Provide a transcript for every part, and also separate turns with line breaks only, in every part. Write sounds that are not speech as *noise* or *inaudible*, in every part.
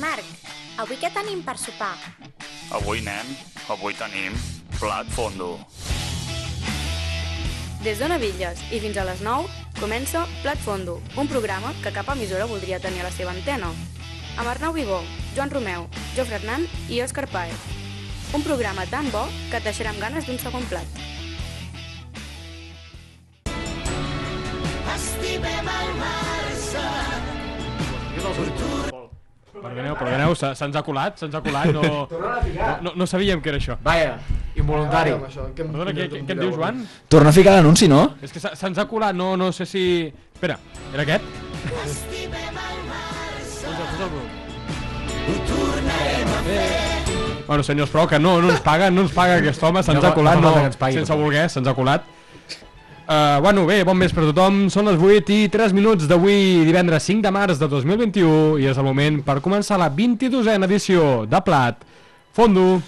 Marc, avui què tenim per sopar?
Avui, nen, avui tenim plat fondo.
Des d'Ona Villas i fins a les 9 comença Plat Fondo, un programa que cap emissora voldria tenir a la seva antena. Amb Arnau Vivó, Joan Romeu, Jofre Hernán i Òscar Paez. Un programa tan bo que et deixarà amb ganes d'un segon plat.
Perdoneu, perdoneu, se- se'ns ha colat, se'ns ha colat, no, no, no sabíem que era això.
Vaja, involuntari.
Perdona, què, què, què et diu, Joan?
Torna a ficar l'anunci, no?
És que se- se'ns ha colat, no, no sé si... Espera, era aquest? Posa, posa el volum. Bueno, senyors, però que no, no ens paga, no ens paga aquest home, se'ns
No,
ha colat,
no
no,
falta que ens pagui,
sense
tampoc.
voler, se'ns ha colat. Uh, bueno, bé, bon vespre a tothom. Són les 8 i 3 minuts d'avui, divendres 5 de març de 2021, i és el moment per començar la 22a edició de Plat Fondo.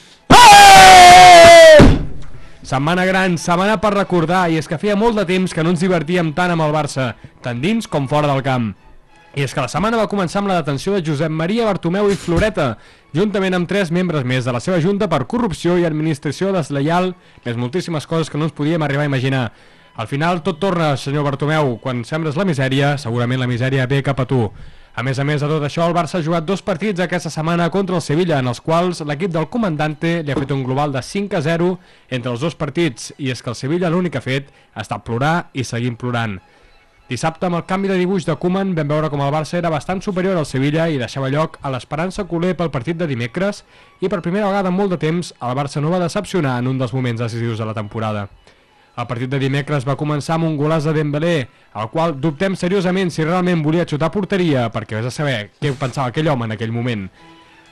Setmana gran, setmana per recordar, i és que feia molt de temps que no ens divertíem tant amb el Barça, tant dins com fora del camp. I és que la setmana va començar amb la detenció de Josep Maria Bartomeu i Floreta, juntament amb tres membres més de la seva junta per corrupció i administració deslleial, més moltíssimes coses que no ens podíem arribar a imaginar. Al final tot torna, senyor Bartomeu, quan sembres la misèria, segurament la misèria ve cap a tu. A més a més de tot això, el Barça ha jugat dos partits aquesta setmana contra el Sevilla, en els quals l'equip del comandante li ha fet un global de 5 a 0 entre els dos partits, i és que el Sevilla l'únic que ha fet ha estat plorar i seguim plorant. Dissabte, amb el canvi de dibuix de Koeman, vam veure com el Barça era bastant superior al Sevilla i deixava lloc a l'Esperança Coler pel partit de dimecres i per primera vegada en molt de temps el Barça no va decepcionar en un dels moments decisius de la temporada. El partit de dimecres va començar amb un golaç de Dembélé, el qual dubtem seriosament si realment volia xutar a porteria perquè vés a saber què pensava aquell home en aquell moment.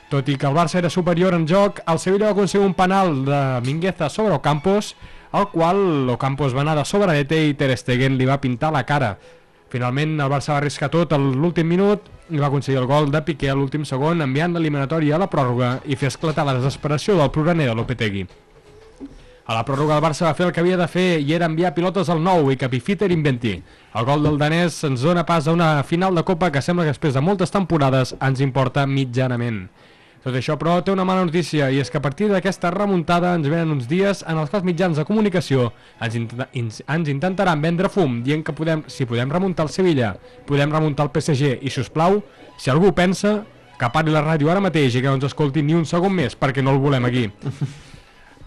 Tot i que el Barça era superior en joc, el Sevilla va aconseguir un penal de Mingueza sobre Ocampos, el qual Ocampos va anar de sobradeta i Ter Stegen li va pintar la cara. Finalment, el Barça va arriscar tot a l'últim minut i va aconseguir el gol de Piqué a l'últim segon, enviant l'eliminatòria a la pròrroga i fer esclatar la desesperació del programer de Lopetegui. A la pròrroga el Barça va fer el que havia de fer i era enviar pilotes al nou i que Pifiter inventi. El gol del danès ens dona pas a una final de Copa que sembla que després de moltes temporades ens importa mitjanament. Tot això, però, té una mala notícia, i és que a partir d'aquesta remuntada ens venen uns dies en els que els mitjans de comunicació ens, intenta, ins- ens intentaran vendre fum, dient que podem, si podem remuntar el Sevilla, podem remuntar el PSG, i, si us plau, si algú pensa, que pari la ràdio ara mateix i que no ens escolti ni un segon més, perquè no el volem aquí.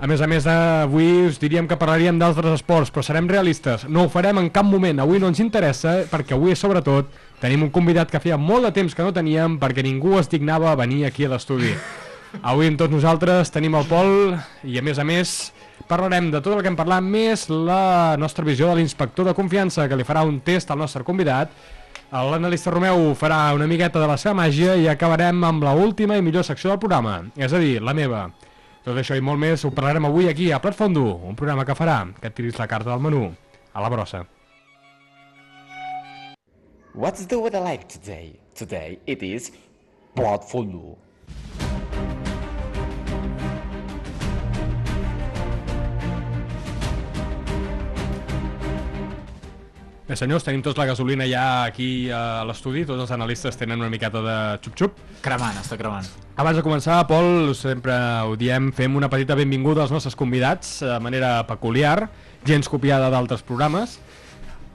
A més a més, avui us diríem que parlaríem d'altres esports, però serem realistes. No ho farem en cap moment, avui no ens interessa, perquè avui, sobretot, tenim un convidat que feia molt de temps que no teníem perquè ningú es dignava a venir aquí a l'estudi. Avui amb tots nosaltres tenim el Pol i, a més a més, parlarem de tot el que hem parlat, més la nostra visió de l'inspector de confiança, que li farà un test al nostre convidat. L'analista Romeu farà una miqueta de la seva màgia i acabarem amb la última i millor secció del programa, és a dir, la meva. Tot això i molt més ho parlarem avui aquí a Plat Fondo, un programa que farà que et tiris la carta del menú a la brossa.
What's the weather like today? Today it is blood fondue.
Bé, senyors, tenim tots la gasolina ja aquí eh, a l'estudi, tots els analistes tenen una miqueta de xup-xup.
Cremant, està cremant.
Abans de començar, Pol, sempre ho diem, fem una petita benvinguda als nostres convidats, eh, de manera peculiar, gens copiada d'altres programes.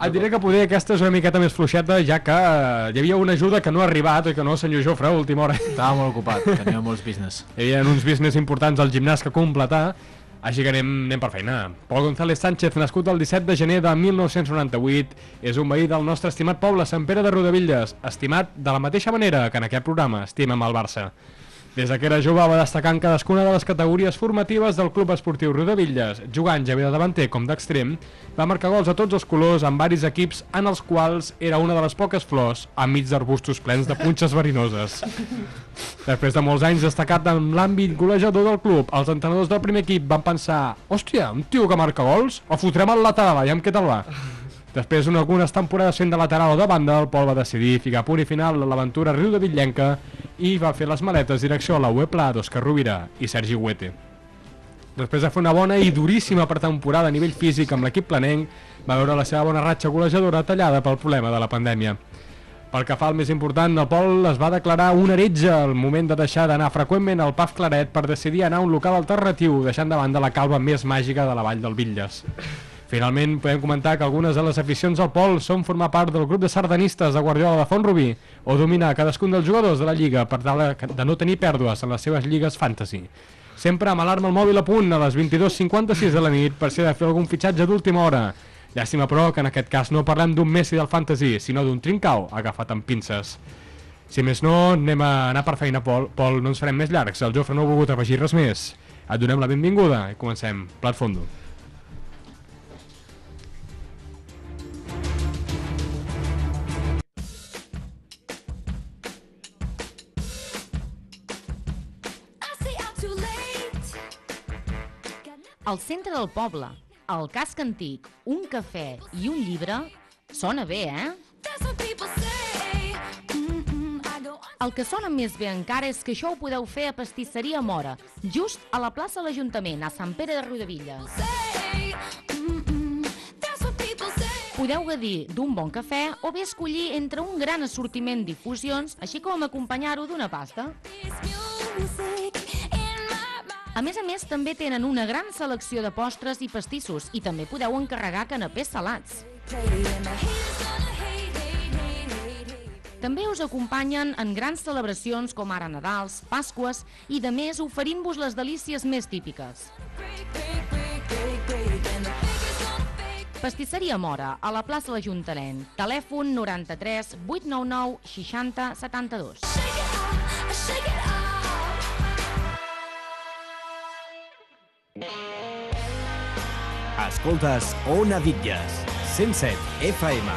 Et diré que poder aquesta és una miqueta més fluixeta, ja que eh, hi havia una ajuda que no ha arribat, oi que no, senyor Jofre, a última hora.
Estava molt ocupat, tenia molts business.
Hi havia uns business importants al gimnàs que completar, així que anem, anem per feina. Pol González Sánchez, nascut el 17 de gener de 1998, és un veí del nostre estimat poble, Sant Pere de Rodavilles, estimat de la mateixa manera que en aquest programa estimem el Barça. Des de que era jove va destacar en cadascuna de les categories formatives del Club Esportiu Rodavilles, jugant ja bé de davanter com d'extrem, va marcar gols a tots els colors en varis equips en els quals era una de les poques flors enmig d'arbustos plens de punxes verinoses. Després de molts anys destacat en l'àmbit golejador del club, els entrenadors del primer equip van pensar «Hòstia, un tio que marca gols? O fotrem al lateral, i amb què te'l va?» Després d'una algunes temporades sent de lateral o de banda, el Pol va decidir ficar punt i final a l'aventura Riu de Villenca i va fer les maletes direcció a la Uepla d'Òscar Rovira i Sergi Huete. Després de fer una bona i duríssima pretemporada a nivell físic amb l'equip planenc, va veure la seva bona ratxa golejadora tallada pel problema de la pandèmia. Pel que fa al més important, el Pol es va declarar un heretge al moment de deixar d'anar freqüentment al Paf Claret per decidir anar a un local alternatiu, deixant de banda la calva més màgica de la vall del Bitlles. Finalment, podem comentar que algunes de les aficions al Pol són formar part del grup de sardanistes de Guardiola de Font-Rubí o dominar cadascun dels jugadors de la Lliga per tal de no tenir pèrdues en les seves lligues fantasy. Sempre amb l'alarma al mòbil a punt a les 22.56 de la nit per si ha de fer algun fitxatge d'última hora. Llàstima, però, que en aquest cas no parlem d'un Messi del fantasy, sinó d'un trincau agafat amb pinces. Si més no, anem a anar per feina, Pol. Pol, no ens farem més llargs. El Jofre no ha volgut afegir res més. Et donem la benvinguda i comencem. Plat fondo.
Al centre del poble, el casc antic, un cafè i un llibre... Sona bé, eh? El que sona més bé encara és que això ho podeu fer a Pastisseria Mora, just a la plaça de l'Ajuntament, a Sant Pere de Riudevilles. Podeu gaudir d'un bon cafè o bé escollir entre un gran assortiment d'infusions, així com acompanyar-ho d'una pasta. A més a més, també tenen una gran selecció de postres i pastissos i també podeu encarregar canapés salats. També us acompanyen en grans celebracions com ara Nadals, Pasques i, de més, oferint-vos les delícies més típiques. Pastisseria Mora, a la plaça l'Ajuntament. Telèfon 93 899 60 72.
Escoltes Ona Bitlles, 107 FM.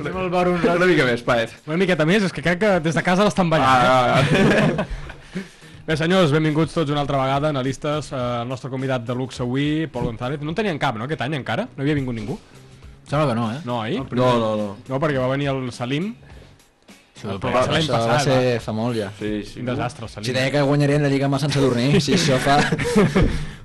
Anem al bar un rato.
Una mica més, paet.
Una miqueta més, és que crec que des de casa l'estan ballant. Ah,
Ah, ah,
ah. *laughs* Bé, senyors, benvinguts tots una altra vegada, analistes. Eh, el nostre convidat de luxe avui, Pol González. No en tenien cap, no, aquest any encara? No havia vingut ningú?
Sembla que no, eh?
No, oi?
no, no, no.
No, perquè va venir el Salim.
Sí, ho
Va,
penso.
l'any
Això va
passat,
ser fa molt ja.
Sí, sí.
Quin desastre, el Salim.
Si deia que guanyarien la Lliga amb el Sant Sadurní, si això
*laughs*
fa...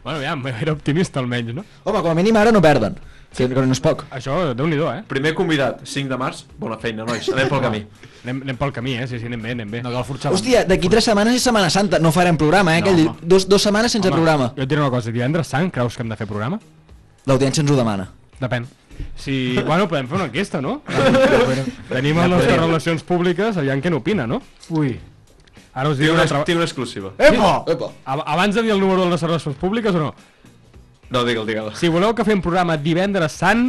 Bueno, aviam, *laughs* era optimista almenys, no?
Home, com a mínim ara no perden, que que no és poc.
Això, Déu-n'hi-do, eh?
Primer convidat, 5 de març. Bona feina, nois. Anem pel
*laughs*
camí.
Anem, anem pel camí, eh? Sí, sí, anem bé, anem bé.
No cal forçar.
Hòstia, d'aquí tres setmanes és Setmana Santa, no farem programa, eh? Aquell, dos, dos setmanes sense programa.
Jo et diré una cosa, divendres sant, creus que hem de fer programa?
L'audiència ens ho demana.
Depèn. Si, bueno, podem fer una enquesta,
*laughs*
no? Tenim les nostres relacions públiques, aviam què n'opina, no?
Ui.
Ara us
Tinc
diré una
una,
altra...
tinc una exclusiva.
Epa!
Epa.
Ab- Abans de dir el número de les nostres relacions públiques o no?
No, digue'l, digue'l.
Si voleu que fem programa divendres sant,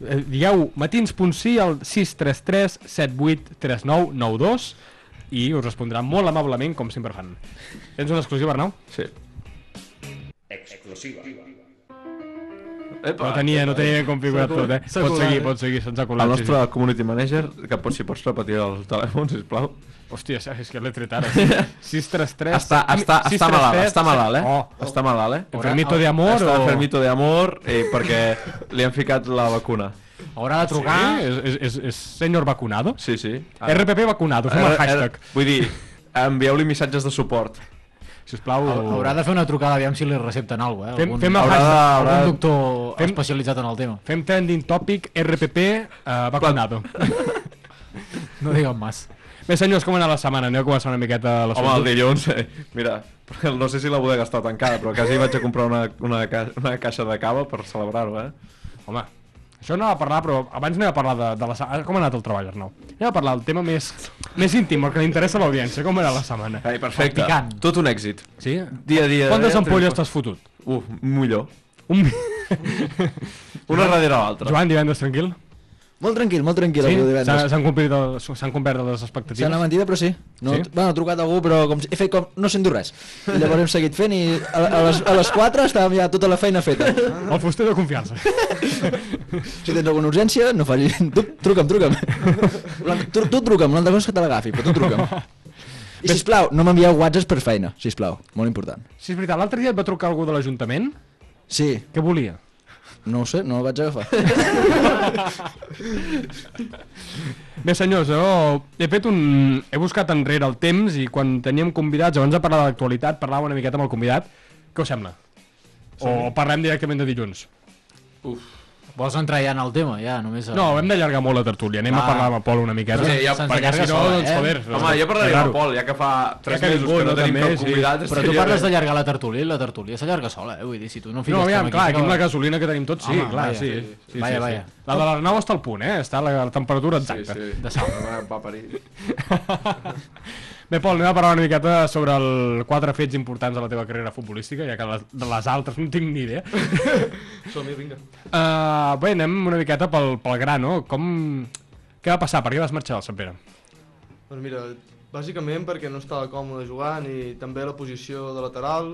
eh, digueu matins.si al 633 7839 92 i us respondran molt amablement, com sempre fan. Tens una exclusiva, Arnau?
Sí.
Exclusiva.
Epa,
No tenia, no tenia ben configurat
s'ha colat,
tot, eh?
s'ha
Pots
colat,
seguir,
eh?
pots seguir, se'ns ha colat.
El
sí, sí.
nostre community manager, que pot, si pots repetir el telèfon, sisplau.
Hòstia, saps que l'he tret ara.
*laughs*
633...
Està, està, està malalt, està malalt, eh?
Oh,
Està malalt, eh?
enfermito de amor
Està
o...
enfermito de amor eh, perquè li han ficat la vacuna.
Haurà de trucar...
Sí, és, és, és, és senyor vacunado? Ah.
Sí, Eh, sí.
RPP vacunado, fem el
R-
hashtag.
R- Vull dir, envieu-li missatges de suport.
Sisplau...
Haurà de fer una trucada, aviam si li recepten alguna cosa, eh?
Fem- fem el
Haurà de... Haurà
Algun
de...
doctor
Fem-
especialitzat en el tema.
Fem trending topic RPP eh, vacunado.
No diguem més.
Bé, senyors, com ha anat la setmana? Aneu a començar una miqueta la
Home, el dilluns, eh, mira, no sé si la bodega està tancada, però quasi vaig a comprar una, una, ca una caixa de cava per celebrar-ho, eh?
Home, això no va parlar, però abans anem a parlar de, de la setmana. Com ha anat el treball, Arnau? Anem a parlar del tema més, més íntim, el que li interessa a l'audiència. Com era la setmana?
Ai, perfecte.
Picant.
Tot un èxit.
Sí?
Dia a dia.
Quantes
eh,
ampolles
triomfa.
t'has fotut?
Uf, millor.
Un...
*laughs* Una darrere l'altra.
Joan, divendres tranquil?
Molt tranquil, molt tranquil.
Sí?
el divendres.
S'ha- S'han complit el- s'han complert les expectatives?
Sembla mentida, però sí. No,
Sí?
sí? Bueno, ha trucat algú, però com, he fet com... No sento res. I llavors hem seguit fent i a, a, les, a les 4 estàvem ja tota la feina feta.
El fuster de confiança. *laughs*
Si tens alguna urgència, no facis... Tu, truca'm, truca'm. L'altre- Tu, tu truca'm, l'altra cosa és que te l'agafi, però tu truca'm. I sisplau, no m'envieu whatsapps per feina, sisplau. Molt important.
Sí, és veritat, l'altre dia et va trucar algú de l'Ajuntament?
Sí.
Què volia?
No ho sé, no el vaig agafar.
Bé, senyors, jo he fet un... He buscat enrere el temps i quan teníem convidats, abans de parlar de l'actualitat, parlava una miqueta amb el convidat. Què us sembla? O parlem directament de dilluns?
Vols entrar ja en el tema, ja, només... A...
No, hem d'allargar molt la tertúlia. Anem a
Va.
parlar amb el Pol una miqueta.
Ah. Sí, ja,
perquè
s'allarga
si no,
sola,
doncs,
eh?
joder...
Home, jo
és
parlaré amb
raro.
el Pol, ja que fa 3
que
mesos
ningú,
que no
no,
tenim
també,
cap
sí.
convidat.
Però tu
estaria
parles
bé.
d'allargar la tertúlia i la tertúlia s'allarga sola, eh? Vull dir, si tu no fiques...
No,
tema
aviam,
aquí,
clar, aquí amb la
acaba-
gasolina que tenim tots, sí,
Home,
clar,
vaja,
sí.
sí,
sí,
sí,
sí,
vaya,
sí,
vaya.
sí. La de l'Arnau està al punt, eh? Està a la, la temperatura
Sí,
exacta.
sí.
De sal.
Va, va parir.
Bé, Pol, anem a parlar una miqueta sobre el quatre fets importants de la teva carrera futbolística, ja que les, de les altres no en tinc ni idea.
Som-hi, vinga.
Uh, bé, anem una miqueta pel, pel gra, no? Com... Què va passar? Per què vas marxar del Sant Pere?
Doncs mira, bàsicament perquè no estava còmode jugant i també la posició de lateral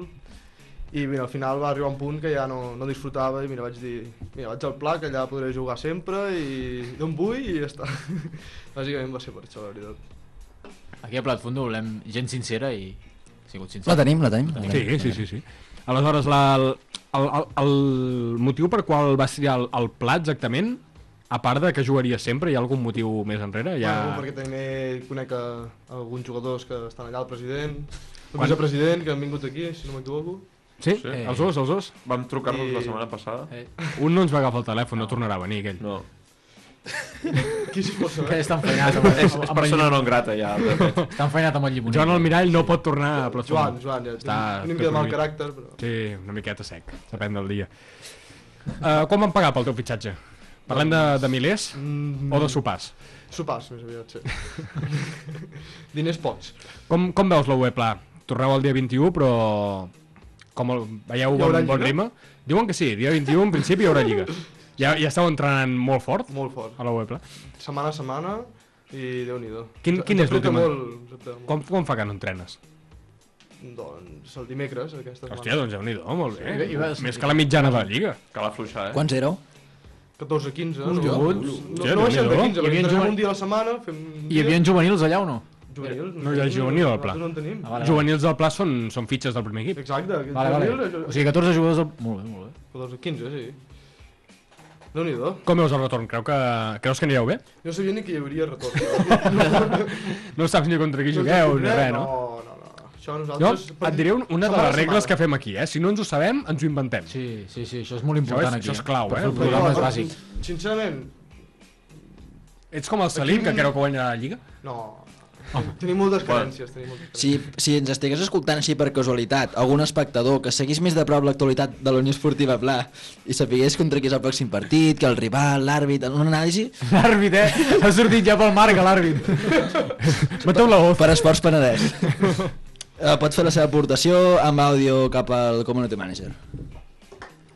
i mira, al final va arribar un punt que ja no, no disfrutava i mira, vaig dir, mira, vaig al pla que allà podré jugar sempre i d'on vull i ja està. *laughs* bàsicament va ser per això, la veritat.
Aquí a Platfondo volem gent sincera i... Ha sigut sincera.
La tenim, la tenim. La tenim.
Sí, sí, sí, sí. Aleshores, la, el, el, el motiu per qual vas triar el, el pla exactament, a part de que jugaria sempre, hi ha algun motiu més enrere? Ja...
Bueno, perquè també conec a alguns jugadors que estan allà, el president, el vicepresident, que han vingut aquí, si no m'equivoco.
Sí? sí?
Sí.
Els dos, els dos?
Vam trucar-nos la
I-
setmana passada.
Eh,
Un no ens va agafar el telèfon, no tornarà a venir aquell.
No.
*laughs* Qui s'hi eh? pot
que
saber?
està enfeinat
*laughs*
amb, amb,
És,
amb,
és
amb, el
persona
llibre.
non grata, ja.
Està enfeinat amb el llimoner.
Joan Almirall no pot tornar a Platform.
Joan, Joan, ja,
Ah, Està
tinc una mica de mal
prohibit.
caràcter, però...
Sí, una miqueta sec, depèn del dia. Uh, com van pagar pel teu fitxatge? Parlem de, de milers
Mm,
o de sopars?
Sopars, més
*laughs*
aviat, sí. Diners pocs.
Com, com veus la UEPLA? Torneu el dia 21, però com el, veieu
Hi haurà
bon, bon
lliga?
ritme? Diuen que sí, dia 21 en principi hi haurà lliga. Ja, ja esteu entrenant molt fort
Molt fort.
a la UEPLA.
Setmana a setmana i déu-n'hi-do.
Quin- quin és l'últim?
Com?
Com, com fa que no entrenes?
Doncs el dimecres, aquesta setmana.
Hòstia, doncs ja nhi do molt
I va- i
bé.
vas-
Més que la mitjana de la lliga.
Cal afluixar, eh?
Quants éreu?
14, 15, no?
Collons.
No,
Hòstia,
no, no baixem de
déu-n'hi-do.
Hi havia
15, perquè entrenem
juve-
un dia a la setmana, fem un
Hi
dia...
havia juvenils allà o no? Ah,
Juvenils?
No hi ha juvenil al pla.
Nosaltres no en tenim.
vale.
Juvenils del Pla són, són fitxes del primer equip.
Exacte,
Vale, vale. O sigui, 14 jugadors... Del... Molt bé, molt bé.
14, 15, sí. Déu-n'hi-do.
Com veus el retorn? Creu que, creus que anireu bé?
No sabia ni que hi hauria retorn.
*laughs* No saps ni contra qui jugueu, ni res, no?
No, no, no. Això
Jo
nosaltres...
et diré un- una de les regles que fem aquí, eh? Si no ens ho sabem, ens ho inventem.
Sí, sí, sí, això és molt important
Això és-
aquí.
això és clau,
per
eh?
fer El programa és bàsic.
Sincerament,
Ets com el Salim, que creu que guanyarà la Lliga.
no. Tenim moltes carències, tenim moltes carències.
Si, si ens estigués escoltant així per casualitat, algun espectador que seguís més de prop l'actualitat de la Unió Esportiva Pla *laughs* i sapigués contra qui és el pròxim partit, que el rival, l'àrbit, una anàlisi,
*laughs* L'àrbit, eh? Ha sortit ja pel marc,
*laughs*
l'àrbit.
Mateu la hoz.
per Esports Penedès. Eh, pot fer la seva aportació amb àudio cap al Community Manager.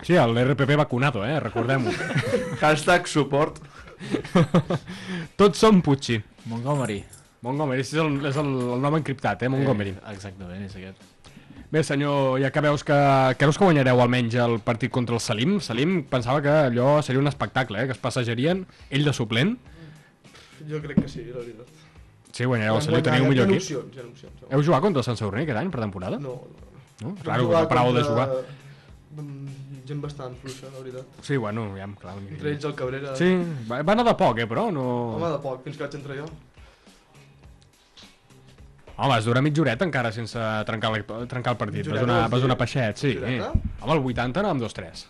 Sí, el RPP vacunado, eh?
*laughs*
Recordem-ho.
Hashtag suport.
Tots som Pucci.
Montgomery.
Montgomery, és el, és el, el nom encriptat, eh? Montgomery.
Eh, exactament, és aquest.
Bé, senyor, ja que veus que, creus que guanyareu almenys el partit contra el Salim, Salim pensava que allò seria un espectacle, eh? Que es passejarien, ell de suplent.
Jo crec que sí, la veritat.
Sí, guanyareu el Salim,
Guanyar-
teniu un millor
hi ha
equip.
opcions, hi ha opcions.
Heu jugat contra el Sant Sadurní aquest any per temporada?
No, no. no.
No?
Vam
Claro, no paràveu de jugar.
contra, mm, Gent bastant fluixa, la veritat.
Sí, bueno, ja em clar. un-
Entre ells el Cabrera.
Sí, va, va anar de poc, eh, però no...
Home, de poc, fins que vaig entrar jo.
Home, es dura mitja horeta encara sense trencar, la, trencar el partit.
Mitja
Vas
horeta,
donar,
vols
vas donar
dir?
peixet, sí.
Mitja
Eh?
horeta?
Home, el 80 anàvem 2-3.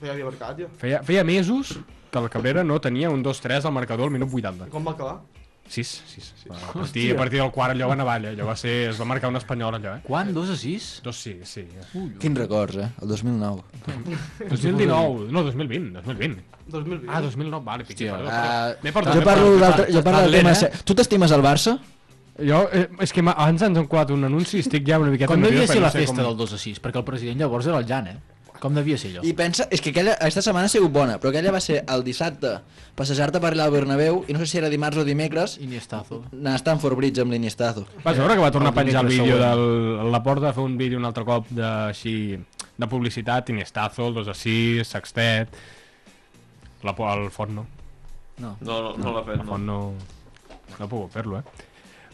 Ja havia marcat, ja.
Feia, feia mesos que el Cabrera no tenia un 2-3 al marcador al minut 80.
I com va acabar?
6, 6. A partir, a partir del quart allò va anar avall, allò va ser... Es va marcar un espanyol allò, eh?
Quan? 2 a 6?
2, sí, sí.
Quins records, eh? El 2009.
2019, no, 2020, 2020.
2020.
Ah, 2009, vale, piqui,
Hòstia,
perdó.
Uh,
M'he perdut,
jo
m'he
parlo
perdut.
d'altre... Jo parlo del
Atleta,
tema...
eh?
ser- Tu t'estimes el Barça?
Jo, eh, és que m'ha- abans ens han colat un anunci i estic ja una miqueta
Com devia
nerviós.
ser la
perquè no sé
festa del 2 a 6? Perquè el president llavors era el Jan, eh? Com devia ser allò?
I pensa, és que aquella, aquesta setmana ha sigut bona, però aquella va ser el dissabte, passejar-te Eh, per allà al Bernabéu, i no sé si era dimarts o dimecres,
Iniestazo.
anar a Stanford Bridge amb l'Iniestazo.
Vas veure que va tornar a penjar el vídeo del la porta, fer un vídeo un altre cop de, així, de publicitat, Iniestazo, el 2 a 6, Sextet, la, por- el Font no.
No,
no, no, no l'ha fet,
El
no.
Font no, no he pogut fer-lo, eh?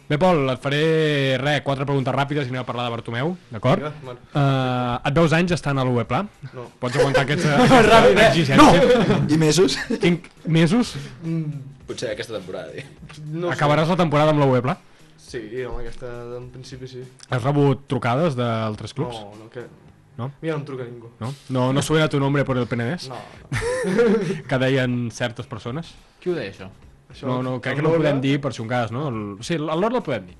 Bé, Pol, et faré, res, quatre preguntes ràpides i anem a parlar de Bartomeu, d'acord?
Vinga,
Uh,
bueno.
et veus anys estant a l'UE Pla?
No.
Pots aguantar aquests
Ràpid, eh?
exigències?
I mesos?
Quin, mesos?
Potser aquesta temporada. eh?
No ho sé.
Acabaràs la temporada amb la UE Pla?
Sí, home, aquesta en principi sí.
Has rebut trucades d'altres clubs?
No, no, que...
No?
Mira, no em truca ningú.
No? No, no suena tu nombre por el Penedès?
No,
*laughs* que deien certes persones?
Qui ho deia, això?
Això-
No, no, crec
el
que no ho
Lorda?
podem dir per si un cas, no? El, sí, el Lord el podem dir.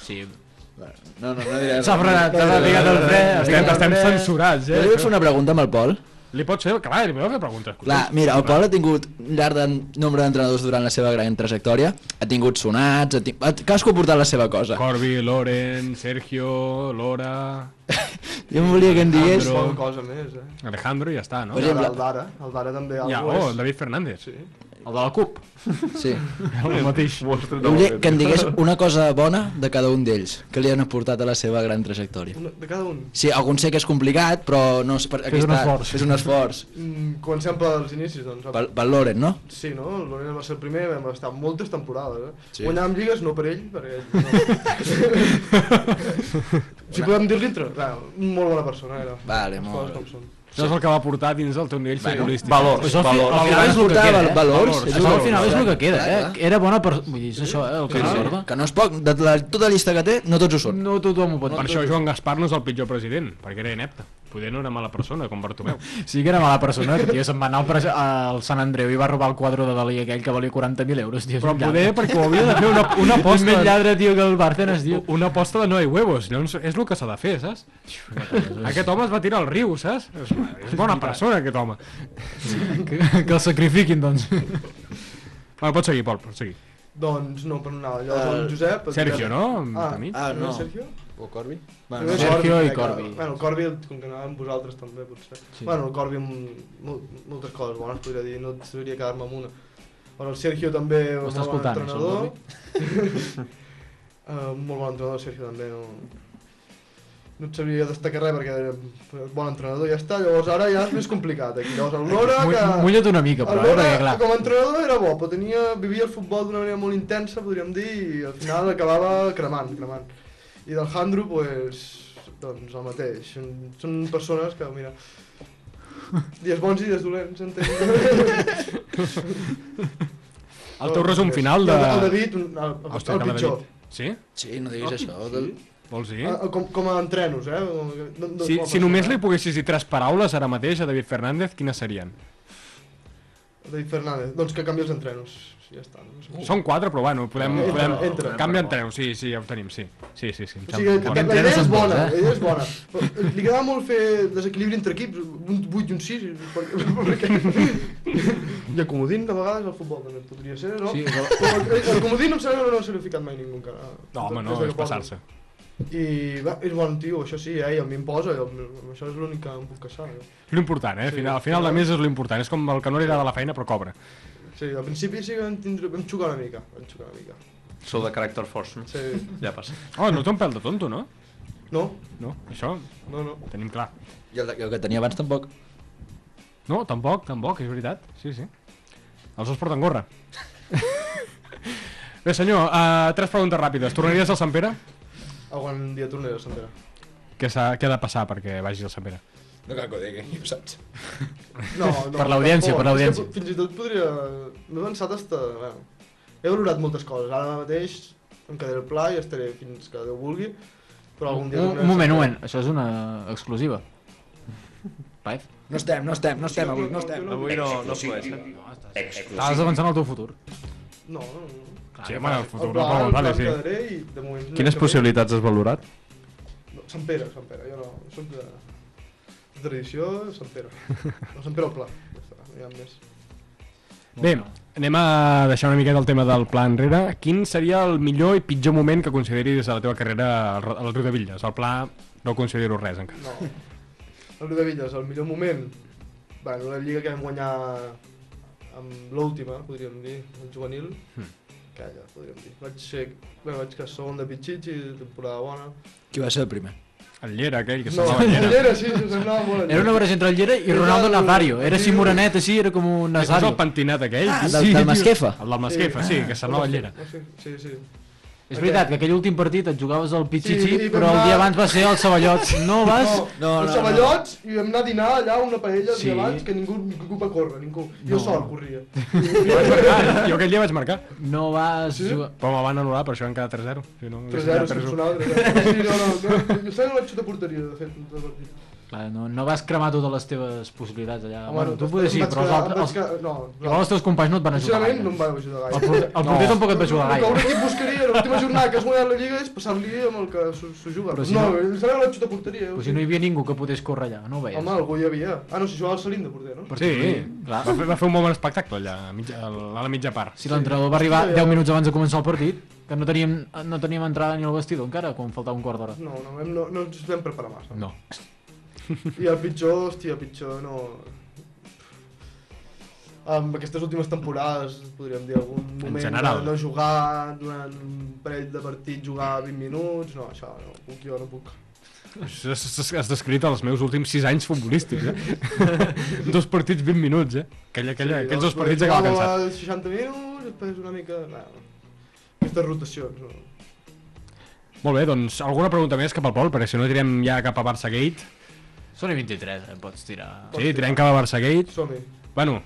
Sí.
No, no, no diré...
S'ha frenat, s'ha ficat el fre, estem, estem censurats,
Jo li vaig fer
eh?
una pregunta amb el Pol.
Li pots fer, clar, li podeu fer preguntes.
Clar, mira, el Pol ha tingut un llarg de nombre d'entrenadors durant la seva gran trajectòria, ha tingut sonats, ha tingut... cadascú ha portat la seva
*laughs*
cosa.
Corbi, Loren, Sergio, Lora,
Jo em volia que em digués...
Andro. Poca cosa més, eh?
Alejandro i ja està, no?
Per
Mira,
exemple-
el d'ara, el d'ara també
Ja,
algo
oh,
és.
el David Fernández.
Sí.
El de la CUP.
Sí.
*laughs* El mateix.
Jo volia que em *laughs* digués una cosa bona de cada un d'ells, que li han aportat a la seva gran trajectòria.
Una- De cada un.
Sí, algun sé que és complicat, però no és per aquí
Fes un
està,
esforç.
és un esforç.
*laughs* Mm, comencem pels inicis, doncs.
Pel, pel Loren, no?
Sí, no? El Lorena va ser el primer, vam estar moltes temporades, eh?
Sí.
Sí. Guanyàvem lligues, no per ell,
*laughs*
perquè ell... No. si podem dir-li entre... clar, Molt bona persona, eh. era.
Vale,
Les
molt
coses
bé.
com són.
Això és el que va portar dins del teu nivell futbolístic.
Valors,
Això al fi-
valors.
al
Al
final
final
és el que
portava
queda, eh?
valors, és
Això
un
Al final és el que queda,
Clar,
eh? Era bona per... Vull dir, és això, eh? El que recorda.
Que no és poc, de la, tota llista que té, no tots ho són.
No tothom ho pot
Per
dir.
això Joan Gaspar no és el pitjor president, perquè era inepte. Poder no era mala persona, com Bartomeu.
Sí que era mala persona, que, tio, se'n va anar al, pres- al Sant Andreu i va robar el quadro de Dalí aquell que valia 40.000 euros, tio. és
Però
un
poder,
lladre.
perquè ho havia de fer una,
*laughs*
una
És més
aposta...
lladre, tio, que el Bárcenas, tio.
Una aposta de no hay huevos, llavors és el que s'ha de fer, saps? Aquest home es va tirar al riu, saps? És, és bona persona, aquest home.
Que, que el sacrifiquin, doncs.
Bueno, pots seguir, Pol, pots seguir.
Doncs no, però no anava. Llavors el Josep... El
Sergio,
Josep-
no? Ah,
Ah,
Ah, no.
Sergio?
O Corbi?
Primer
Sergio i
crec que-
Corbi.
Bueno, el Corbi, el- com que anava amb vosaltres també, potser. Sí. Bueno, el Corbi amb mol- moltes coses bones, podria dir, no sabria quedar-me amb una. Però el Sergio també,
Ho
un molt
està
bon
escoltant, això, el
entrenador. *laughs* uh, un molt bon entrenador, el Sergio també, no... No et sabria destacar res perquè era bon entrenador i ja està, llavors ara ja és més complicat aquí. Llavors el Lora,
Mu-
que...
Mulla't una mica, però, eh?
Lora,
Perquè, clar...
com a entrenador era bo, però tenia, vivia el futbol d'una manera molt intensa, podríem dir, i al final acabava cremant, cremant. I del Handro, pues, doncs el mateix. Són, són persones que,
*laughs*
mira, dies bons i dies dolents, entenc.
El teu resum final
I
de...
El, el David, un- el, el,
Hòstia,
el
que la
pitjor.
David- Sí?
Sí, no diguis això.
Vols dir?
Eh, Com, com a entrenos, eh? Com- No, no,
Si,
com a
si
persona,
només
eh?
li poguessis dir tres paraules ara mateix a David Fernández, quines serien?
David Fernández, doncs que canvi els entrenos. Ja està. No sé.
Són quatre, però bueno, podem...
Uh. Entra,
podem...
entra.
Canvia entreu, sí, sí, ja ho tenim, sí. Sí, sí, sí. em
O sigui,
sembla molt
la, la
bé.
idea és
són bons,
bona,
eh?
la idea és bona. Però Li quedava molt fer desequilibri entre equips, un 8 i un 6, perquè... perquè... I el comodín, de vegades, el futbol també podria ser, no?
Sí,
el,
però-
el, el comodín em sembla que no s'ha ficat mai ningú encara.
No, home, no,
Des de
és
que porto.
passar-se.
I va, és bon tio, això sí, eh? I a mi em posa, i el, això és l'únic que em puc queixar. Eh?
L'important, eh? Al
Sí,
final, al final de mes és l'important. És com el que no li agrada la feina, però cobra.
Sí, al principi sí que vam, tindre, vam xocar una mica, vam xocar una mica.
Sou de caràcter força.
Sí.
Ja passa.
Oh, no té un pèl de tonto, no?
No,
No, això
no, no.
ho tenim clar.
I el, el que tenia abans tampoc.
No, tampoc, tampoc, és veritat. Sí, sí. Els dos porten
*laughs*
gorra. Bé, senyor, uh, tres preguntes ràpides. Tornaries al Sant Pere?
Algun dia tornaré a Santera.
Què, s'ha- què ha de passar perquè vagis al Sant Pere?
No cal que ho digui, ho saps.
No, no,
Per l'audiència,
tampoc.
per l'audiència.
És que Fins i tot podria... M'he pensat hasta... Bueno, he valorat moltes coses. Ara mateix em quedaré al pla i estaré fins que Déu vulgui. Però algun
Un,
dia...
un moment, un moment. Això és una exclusiva. Paez?
No estem, no estem, no estem avui, no estem.
Avui no, no flueix, eh?
Estàs avançant el teu futur.
No, no, no.
Sí, home, el futur,
Al
no, però,
al
vale,
em
sí.
doncs,
quedaré i de moment...
Quines possibilitats has valorat?
No, Sant Pere, Sant Pere. Jo no... Soc de... de tradició, Sant
*laughs*
Pere. No, Sant Pere al pla. Ja està, no hi ha més.
Bé, anem a deixar una miqueta el tema del pla enrere. Quin seria el millor i pitjor moment que consideris a la teva carrera al Ra- al Riu de Villas? El pla no considero res encara.
No. El Riudevilles, el millor moment, bueno, la lliga que vam guanyar amb l'última, podríem dir, el juvenil,
Hmm.
calla, podríem dir. Vaig ser, bueno, vaig quedar segon de Pichichi, temporada bona.
Qui va ser el primer?
El Llera, aquell
que No, semblava el Llera. Llera, sí, sí, semblava molt el
Era una
Llera.
barreja entre el Llera i
Era
Ronaldo
el-
Nazario. Era així
el-
morenet, així, era com un
És
Nazario.
el pentinat aquell.
Ah,
tio.
del- del Masquefa.
El del Masquefa, sí, que semblava el Llera.
Sí, sí, sí.
És veritat que aquell últim partit et jugaves al Pichichi,
Sí, i vam
però el
anar-
dia abans va ser el Ceballots. No vas?
No, els ceballots i vam anar a dinar allà una paella sí.
Sí.
abans que ningú, ningú va córrer, ningú. Jo
No.
sol
*laughs*
corria.
Jo aquell dia vaig marcar.
No vas sí? jugar...
Però me van anul·lar, per això van quedar 3-0. Si no,
3-0,
haguessin quedat
si sonava 3-0. eh. Sí, no, no, no, jo sé que no vaig xutar porteria, de fet, tot el partit.
Clar, no, no vas cremar totes les teves possibilitats allà.
Home,
bueno,
no,
tu poder sí,
em vaig
però els
quedar-
altres...
em vaig
Els...
quedar- no,
Igual els teus companys no et van ajudar
Sincerament,
gaire.
no em va ajudar gaire.
El porter- el porter tampoc et va ajudar gaire.
El que un equip buscaria l'última jornada que has guanyat la Lliga és passar-li amb el que s'ho s'ho juga.
Però si
no,
no-
em sembla que la xuta porteria.
Però si no hi havia ningú que pogués córrer allà, no ho veies?
Home, algú hi havia. Ah, no, si jugava el Salim de porter, no?
Sí, va fer, va fer un molt bon espectacle allà, a, mitja, a la mitja part.
Si l'entrenador va arribar 10 minuts abans de començar el partit, que no teníem, no teníem entrada ni al vestidor encara, quan faltava un quart d'hora.
No, no, hem- no, no ens vam preparar massa.
No.
I el pitjor, hòstia, el pitjor no... Amb aquestes últimes temporades, podríem dir, algun moment
general.
de no jugar durant un parell de partits, jugar 20 minuts, no, això no ho puc, jo no puc.
Has, has, has descrit els meus últims 6 anys futbolístics, eh? dos partits 20 minuts, eh? Aquella, aquella, aquells dos partits acaba cansat.
Jugava 60 minuts, després una mica... Bueno, aquestes rotacions, no?
Molt bé, doncs alguna pregunta més cap al Pol, perquè si no tirem ja cap a Barça Gate.
Són 23, eh? pots tirar...
Sí, tirem cap a Barça Gate.
Som-hi.
Bueno,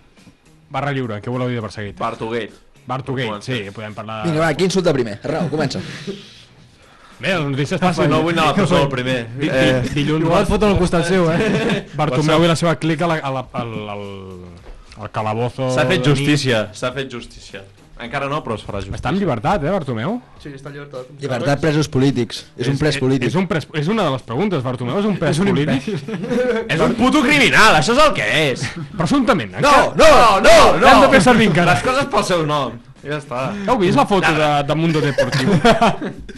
barra lliure, què voleu dir de Barça Gate?
Bartogate.
Ah, Bartogate, sí, podem parlar...
Vinga, va, qui insulta primer? Arnau, comença.
Bé, doncs deixes pas...
No vull anar a la presó el primer.
Di- di-
Eh.
Dilluns...
Igual et foten al costat seu, eh?
*laughs* Bartomeu i la seva clica a la, a la, al, al, al calabozo...
S'ha fet
de nit.
justícia, s'ha fet justícia. Encara no, però es farà justícia.
Està en llibertat, eh, Bartomeu?
Sí, està llibertat.
Llibertat presos polítics. És un pres polític.
És, un pres, és una de les preguntes, Bartomeu, *laughs* és un pres
un
polític?
És un puto criminal, això és el que és.
Presumptament.
No,
encara-
no, no, no.
L'hem de fer servir encara.
Les coses pel seu nom. Ja està.
Heu vist la foto de, de Mundo *laughs* Deportivo?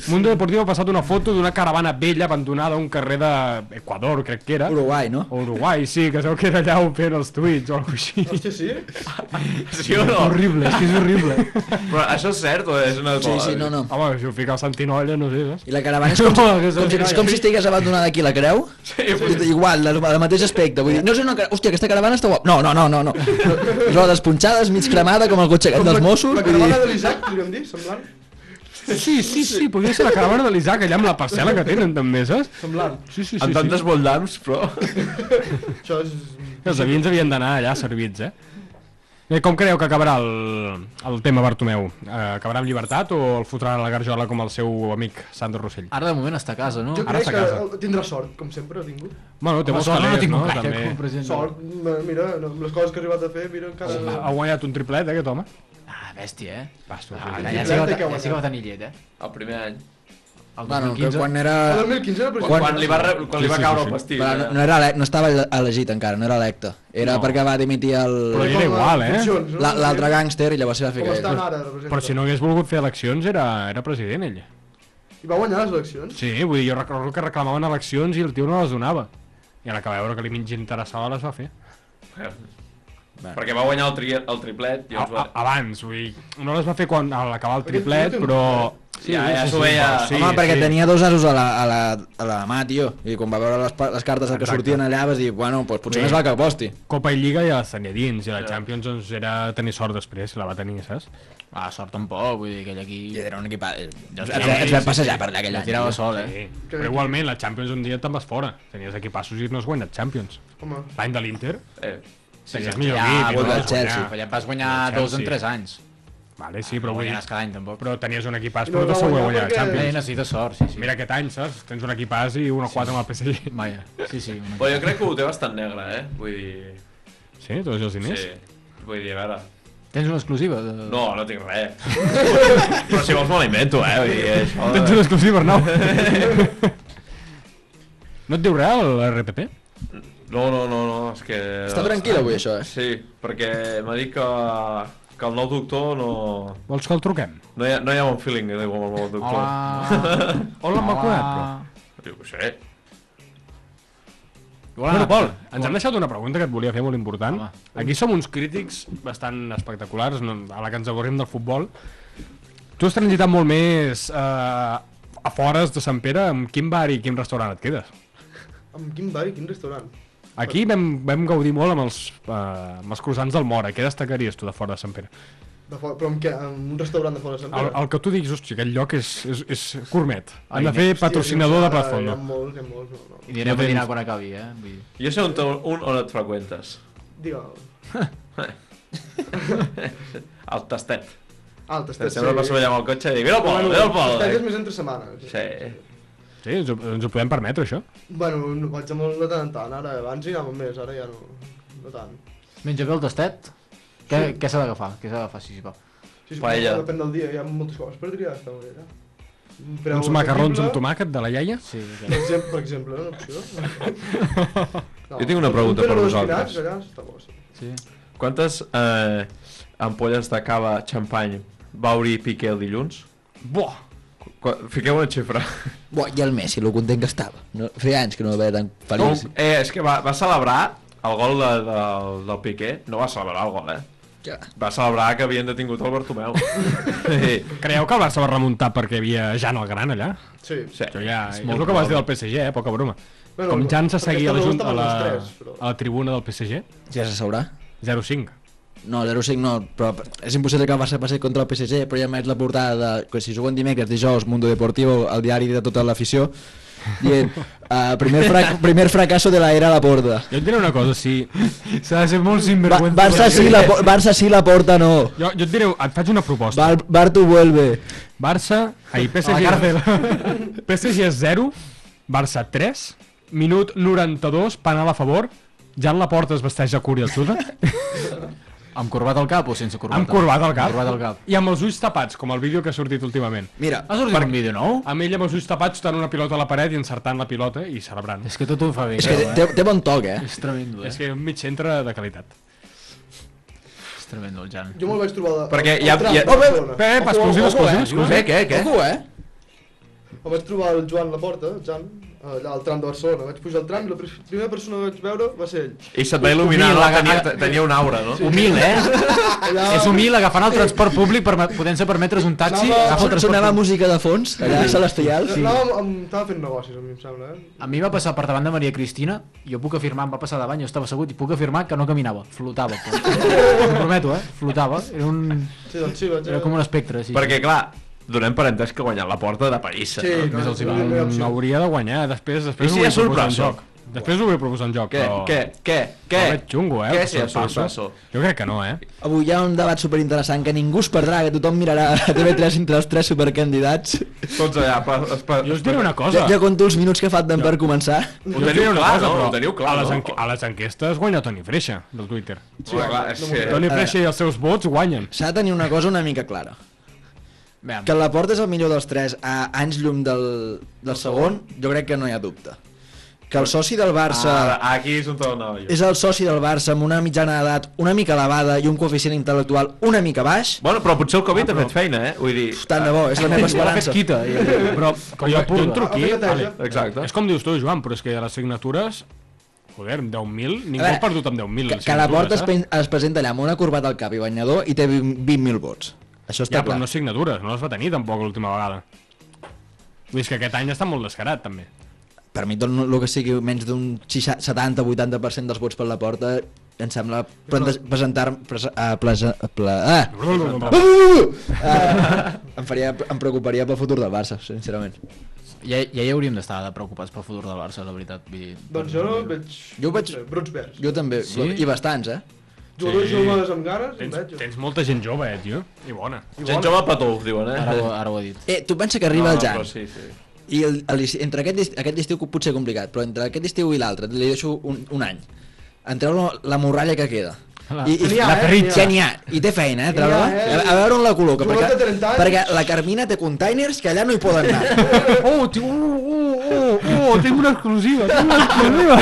Mundo Deportivo ha passat una foto d'una caravana vella abandonada a un carrer d'Equador, crec que era.
Uruguai, no?
Uruguai, sí, que es veu que era allà fent els tuits o alguna cosa així.
Hòstia, sí?
Sí o no?
Horrible, és que és horrible. *laughs*
Però això és cert o és una...
Sí, sí, no, no.
Home, si ho fica el Santinolla, no sé, saps?
I la caravana és com, com, si, és com si estigués abandonada aquí la creu. Sí, Igual, la, el mateix aspecte. Vull dir, no és una cara... Hòstia, aquesta caravana està guapa. No, no, no, no. no. Rodes punxades, mig cremada, com el cotxe aquest dels Mossos.
La
Vull dir...
caravana de l'Isaac, podríem dir, semblant.
Sí, sí, sí, podria ser la caravana de l'Isaac allà amb la parcel·la que tenen també, saps?
Semblant.
Sí, sí, sí.
Amb tantes
sí.
voldams, però...
Això és...
Els avions havien d'anar allà servits, eh? Bé, com creieu que acabarà el, el tema Bartomeu? Eh, acabarà amb llibertat o el fotran a la garjola com el seu amic Sandro Rossell?
Ara de moment està a casa, no?
Jo
Ara
crec
està
que
a
eh, tindrà sort, com sempre, ha tingut.
Bueno, té
Home,
molts
sort no
calés,
tinc
no?
gaire, com a
També.
president.
Sort, m- mira, amb les coses que ha arribat a fer, mira, encara...
Ha guanyat un triplet, eh, aquest home?
Ah, bèstia, eh?
Bastos,
Ah,
sí, sí.
ja, sí que va, ja sí que va tenir llet, eh?
El primer any.
El
Bueno, que
2015.
quan era...
El 2015 era
Quan,
president.
quan li va, re... quan li va caure el pastís. eh?
Però no, no, era elec- no estava ele- elegit encara, no era electe. Era
No.
no. perquè va dimitir el...
Però era igual, eh?
Funcions, no?
la- L'altre gàngster i llavors s'hi va
Com
ficar
estan
ell.
ara, representa.
Però si no hagués volgut fer eleccions era, era president, ell.
I va guanyar les eleccions.
Sí, vull dir, jo recordo que reclamaven eleccions i el tio no les donava. I ara que va veure que li mig interessava les va fer.
Perquè va guanyar el, tri... el triplet i ens
A,
Ah,
va...
a, abans, vull dir, no les va fer quan a l'acabar el
Aquest
triplet,
tio té un
però...
Sí, ja, ja s'ho veia...
Sí,
Home, perquè
sí.
tenia dos asos a la, a la, a la mà, tio. I quan va veure les, pa- les cartes que
Exacte.
sortien allà vas dir, bueno, doncs potser
Bé.
més val que aposti.
Copa i Lliga ja les tenia dins, i la Champions doncs, era tenir sort després, la va tenir, saps?
Ah, sort tampoc, vull dir, aquell aquí...
I era un equip... Ens, ens,
sí,
ens
sí,
vam passejar per allà aquell
La
any.
eh? tirava
tio.
sol, eh?
Sí. Però igualment, la Champions un dia te'n vas fora. Tenies equipassos i no has guanyat Champions.
Home,
L'any de l'Inter,
Eh,
tenies millor
ja,
equip. i
vol
no
del
vas guanyar.
Chelsea,
Però ja et vas guanyar
El Chelsea.
dos en tres anys.
Vale, sí, però
No
vull dir...
guanyaràs cada any, tampoc.
Però tenies un equipàs,
I
però
no
no
va
segur
guanyar
guanyar la
perquè-
Eh,
Champions.
necessites sort, sí, sí.
Mira aquest any, saps? Tens un equipàs i 1-4 amb el PSG.
Vaja, sí, sí.
ah.
Una...
però jo crec que ho té bastant negre, eh? Vull dir...
Sí, tots els diners?
Sí. Vull dir, a veure...
Tens una exclusiva? De...
No, no tinc
*laughs*
res. però si vols me l'invento, eh? Vull dir, això...
*laughs* Tens un exclusiu, Arnau. *laughs* no et diu res l'RPP?
No, no, no, no, és que...
Està tranquil avui, això, eh?
Sí, perquè m'ha dit que, que el nou doctor no...
Vols que el truquem?
No hi ha, no hi ha bon feeling eh, amb el nou doctor.
Hola.
*laughs*
On l'han vacunat, però?
Jo ho sé.
Bueno, Pol, ens hem deixat una pregunta que et volia fer molt important. Home. Aquí som uns crítics bastant espectaculars, no, a la que ens avorrim del futbol. Tu has transitat molt més eh, a fores de Sant Pere. Amb quin bar i quin restaurant et quedes?
Amb quin bar i quin restaurant?
Aquí vam, vam gaudir molt amb els, eh, amb els croissants del Mora. Què destacaries tu de fora de Sant Pere?
De fora, però amb què? Amb un restaurant de fora de Sant
El,
Pere?
el que tu diguis, hòstia, aquest lloc és, és, és gourmet. Hem
Ai,
de fer
hòstia,
patrocinador
sí,
de
ara
Platfondo.
Hi ha molts, hi ha molts. No, no.
I anirem
No
a dinar
tens-
quan acabi, eh? Vull dir.
Jo sé on, te- un on et freqüentes. *laughs* El tastet.
Ah, el tastet,
Sempre
sí.
passo allà amb el cotxe i dic, mira el Pol,
Bueno,
mira el
el
Pol.
tastet és més entre setmanes.
Sí.
Sí, ens ho, ens ho podem permetre, això?
Bueno, no vaig a molt de tant en tant, ara. Abans hi anava més, ara ja no, no tant.
Menja bé el tastet? Què, què s'ha d'agafar? Què s'ha d'agafar, sí, sí,
Sí, sí, Depèn del dia, hi ha moltes coses per triar, està molt bé, eh? Un preu
Uns macarrons
assequible,
amb tomàquet de la iaia?
Sí.
Per exemple, per exemple, una opció.
*laughs* Jo tinc una pregunta
un
per
pernil
vosaltres.
espinacs, Allà, està bo, sí.
Sí.
Quantes eh, ampolles de cava, xampany, va obrir Piqué el dilluns?
Buah!
Fiqueu una xifra.
Buah, i el Messi, el content que estava. No, feia anys que no veia tan feliç.
Com- eh, és que va, va celebrar el gol de, de, del Piqué. No va celebrar el gol, eh?
Ja.
Va celebrar que havien detingut el *laughs* Bartomeu.
Creieu que el Barça va remuntar perquè hi havia Jan el Gran allà?
Sí.
sí.
Això ja,
És
és,
molt
el que vas dir del
probable.
PSG, eh? Poca broma.
Bueno,
Com Jan se
perquè
seguia a la,
estaven
junta, a, la,
els tres, però-
a la tribuna del PSG?
Ja se sabrà.
0-5.
No, 0-5 no, però és impossible que el Barça passi contra el PSG, però ja m'haig la portada de, que si juguen dimecres, dijous, Mundo Deportivo, el diari de tota l'afició,
*laughs*
dient, uh, primer, frac primer fracasso de la era a la porta.
Jo et diré una cosa, sí. S'ha de ser molt sinvergüenza.
Barça sí, la, por- Barça sí, la porta no.
Jo, jo et diré, et faig una proposta.
Bar Bartu vuelve.
Barça, ahir
A
PSG...
la
PSG és 0, Barça 3, minut 92, penal a favor, ja en la porta es vesteix a cúria el
Amb corbat al cap o sense corbata?
Amb corbat al cap.
Amb corbat al cap.
I amb els ulls tapats, com el vídeo que ha sortit últimament.
Mira,
ha sortit un vídeo nou?
Amb ell amb els ulls tapats, tant una pilota a la paret i encertant la pilota i celebrant.
És que tot ho fa bé.
És que
creu, eh?
té, té bon toc, eh?
És tremendo, eh?
És que un mig centre de qualitat.
És tremendo, el Jan.
Jo me'l vaig trobar... De,
Perquè
al-
hi ha-
al tram
hi ha-
de Barcelona.
Pep, Pep,
Ojo,
exclusiva,
ojo,
exclusiva,
eh?
exclusiva.
Què, què, què?
Ojo, eh?
Em vaig trobar el Joan la porta, el Jan, allà al tram de Barcelona. Vaig pujar al tram i la pr- primera persona que vaig veure va ser ell.
I se't va il·luminar,
Humil,
no?
la-
Tenia, te- tenia una aura, no?
Humil,
*laughs*
eh?
Allà...
És humil agafant el transport públic per poder-se permetre's un taxi,
Anava-
agafa el transport
Sonava
públic.
música de fons, allà a Celestial.
Sí. Anava, amb- amb- estava fent negocis, a mi em sembla, eh?
A mi va passar per davant de Maria Cristina, jo puc afirmar, em va passar davant, jo estava assegut i puc afirmar que no caminava,
*laughs*
flotava. Però... Ho prometo, eh? Flotava. Era, un...
Sí, doncs sí, vaig...
Era com un espectre, sí.
Perquè, clar, donem per entès que ha guanyat la porta de París.
Sí,
no?
no,
Més els hi
no,
va.
no hi ha opció.
eh? Hauria de guanyar, després, després
I si
ho vull
és un
proposar en
braço?
joc. Després ho vull proposar en joc,
Què,
però...
què, què, què?
No veig xungo, eh?
Què
el
si et
Barça.
passa?
Jo crec que no, eh?
Avui hi ha un debat superinteressant que ningú es perdrà, que tothom mirarà a TV3 entre els tres supercandidats.
Tots allà... Pa, es, pa,
Jo us diré una cosa.
Ja, ja conto els minuts que falten per començar.
Ho
Jo us diré
teniu
una
clar,
cosa,
no?
però
Ho teniu clar,
a les,
no?
enqu- a les enquestes guanya Toni Freixa, del Twitter.
Sí, clar, és que...
Toni Freixa i els seus vots guanyen.
S'ha de tenir una cosa una mica clara.
Veam.
Que la porta és el millor dels tres a anys llum del, del segon, jo crec que no hi ha dubte. Que el soci del Barça...
Ah, aquí és on anava jo.
és el soci del Barça amb una mitjana d'edat una mica elevada i un coeficient intel·lectual una mica baix,
Bueno, però potser el
Ah,
Covid ha fet feina, eh? Vull dir... eh,
tant de bo, és la
Ho ha
meva
fet
esperança.
quita. i- Però,
Com jo, jo entro aquí...
Aplica't,
Vale.
eh?
Exacte.
És com dius tu, Joan, però és que a les signatures... Joder, amb 10.000... Ningú
A veure,
ha perdut amb 10.000.
Que,
les
que la porta
signatures, eh?
es, pen- es presenta allà amb una corbata al cap i banyador i té 20 20.000 vots. Això
eh? Ja,
està
però
clar.
no signatures, no les va tenir tampoc l'última vegada. Vull dir és que aquest any està molt descarat, també.
Per mi tot el que sigui menys d'un 70-80% dels vots per la porta em sembla plante- presentar... Presa, uh, plesa, pla, ah! Uh, em, faria, em preocuparia pel futur del Barça, sincerament.
Ja, ja hi hauríem d'estar de preocupats pel futur del Barça, la veritat. Vull dir,
Doncs jo no veig...
Jo vaig-
no sé, Brots verds.
Jo també, sí? i bastants, eh?
Jugadors
Sí.
joves amb ganes, em
Tens,
veig. jo.
tens molta gent jove, eh, tio? I bona.
Gent jove petó, diuen, eh?
Ara, ho, ara ho ha dit.
Eh, tu pensa que arriba el Jan,
però sí, sí.
I el, el, entre aquest, est- aquest estiu que potser complicat, però entre aquest estiu i l'altre, li deixo un, un any. En treure la morralla que queda. I, i,
N'hi ha, eh?
ferritxa.
N'hi
N'hi
ha.
ha, i té feina, eh, treure
N'hi ha, eh?
a, a veure on la col·loca,
Jugadors de
perquè,
30 anys.
perquè la Carmina té containers que allà no hi poden anar.
Oh, tio, oh, oh, oh, oh, tinc una exclusiva, tinc una exclusiva.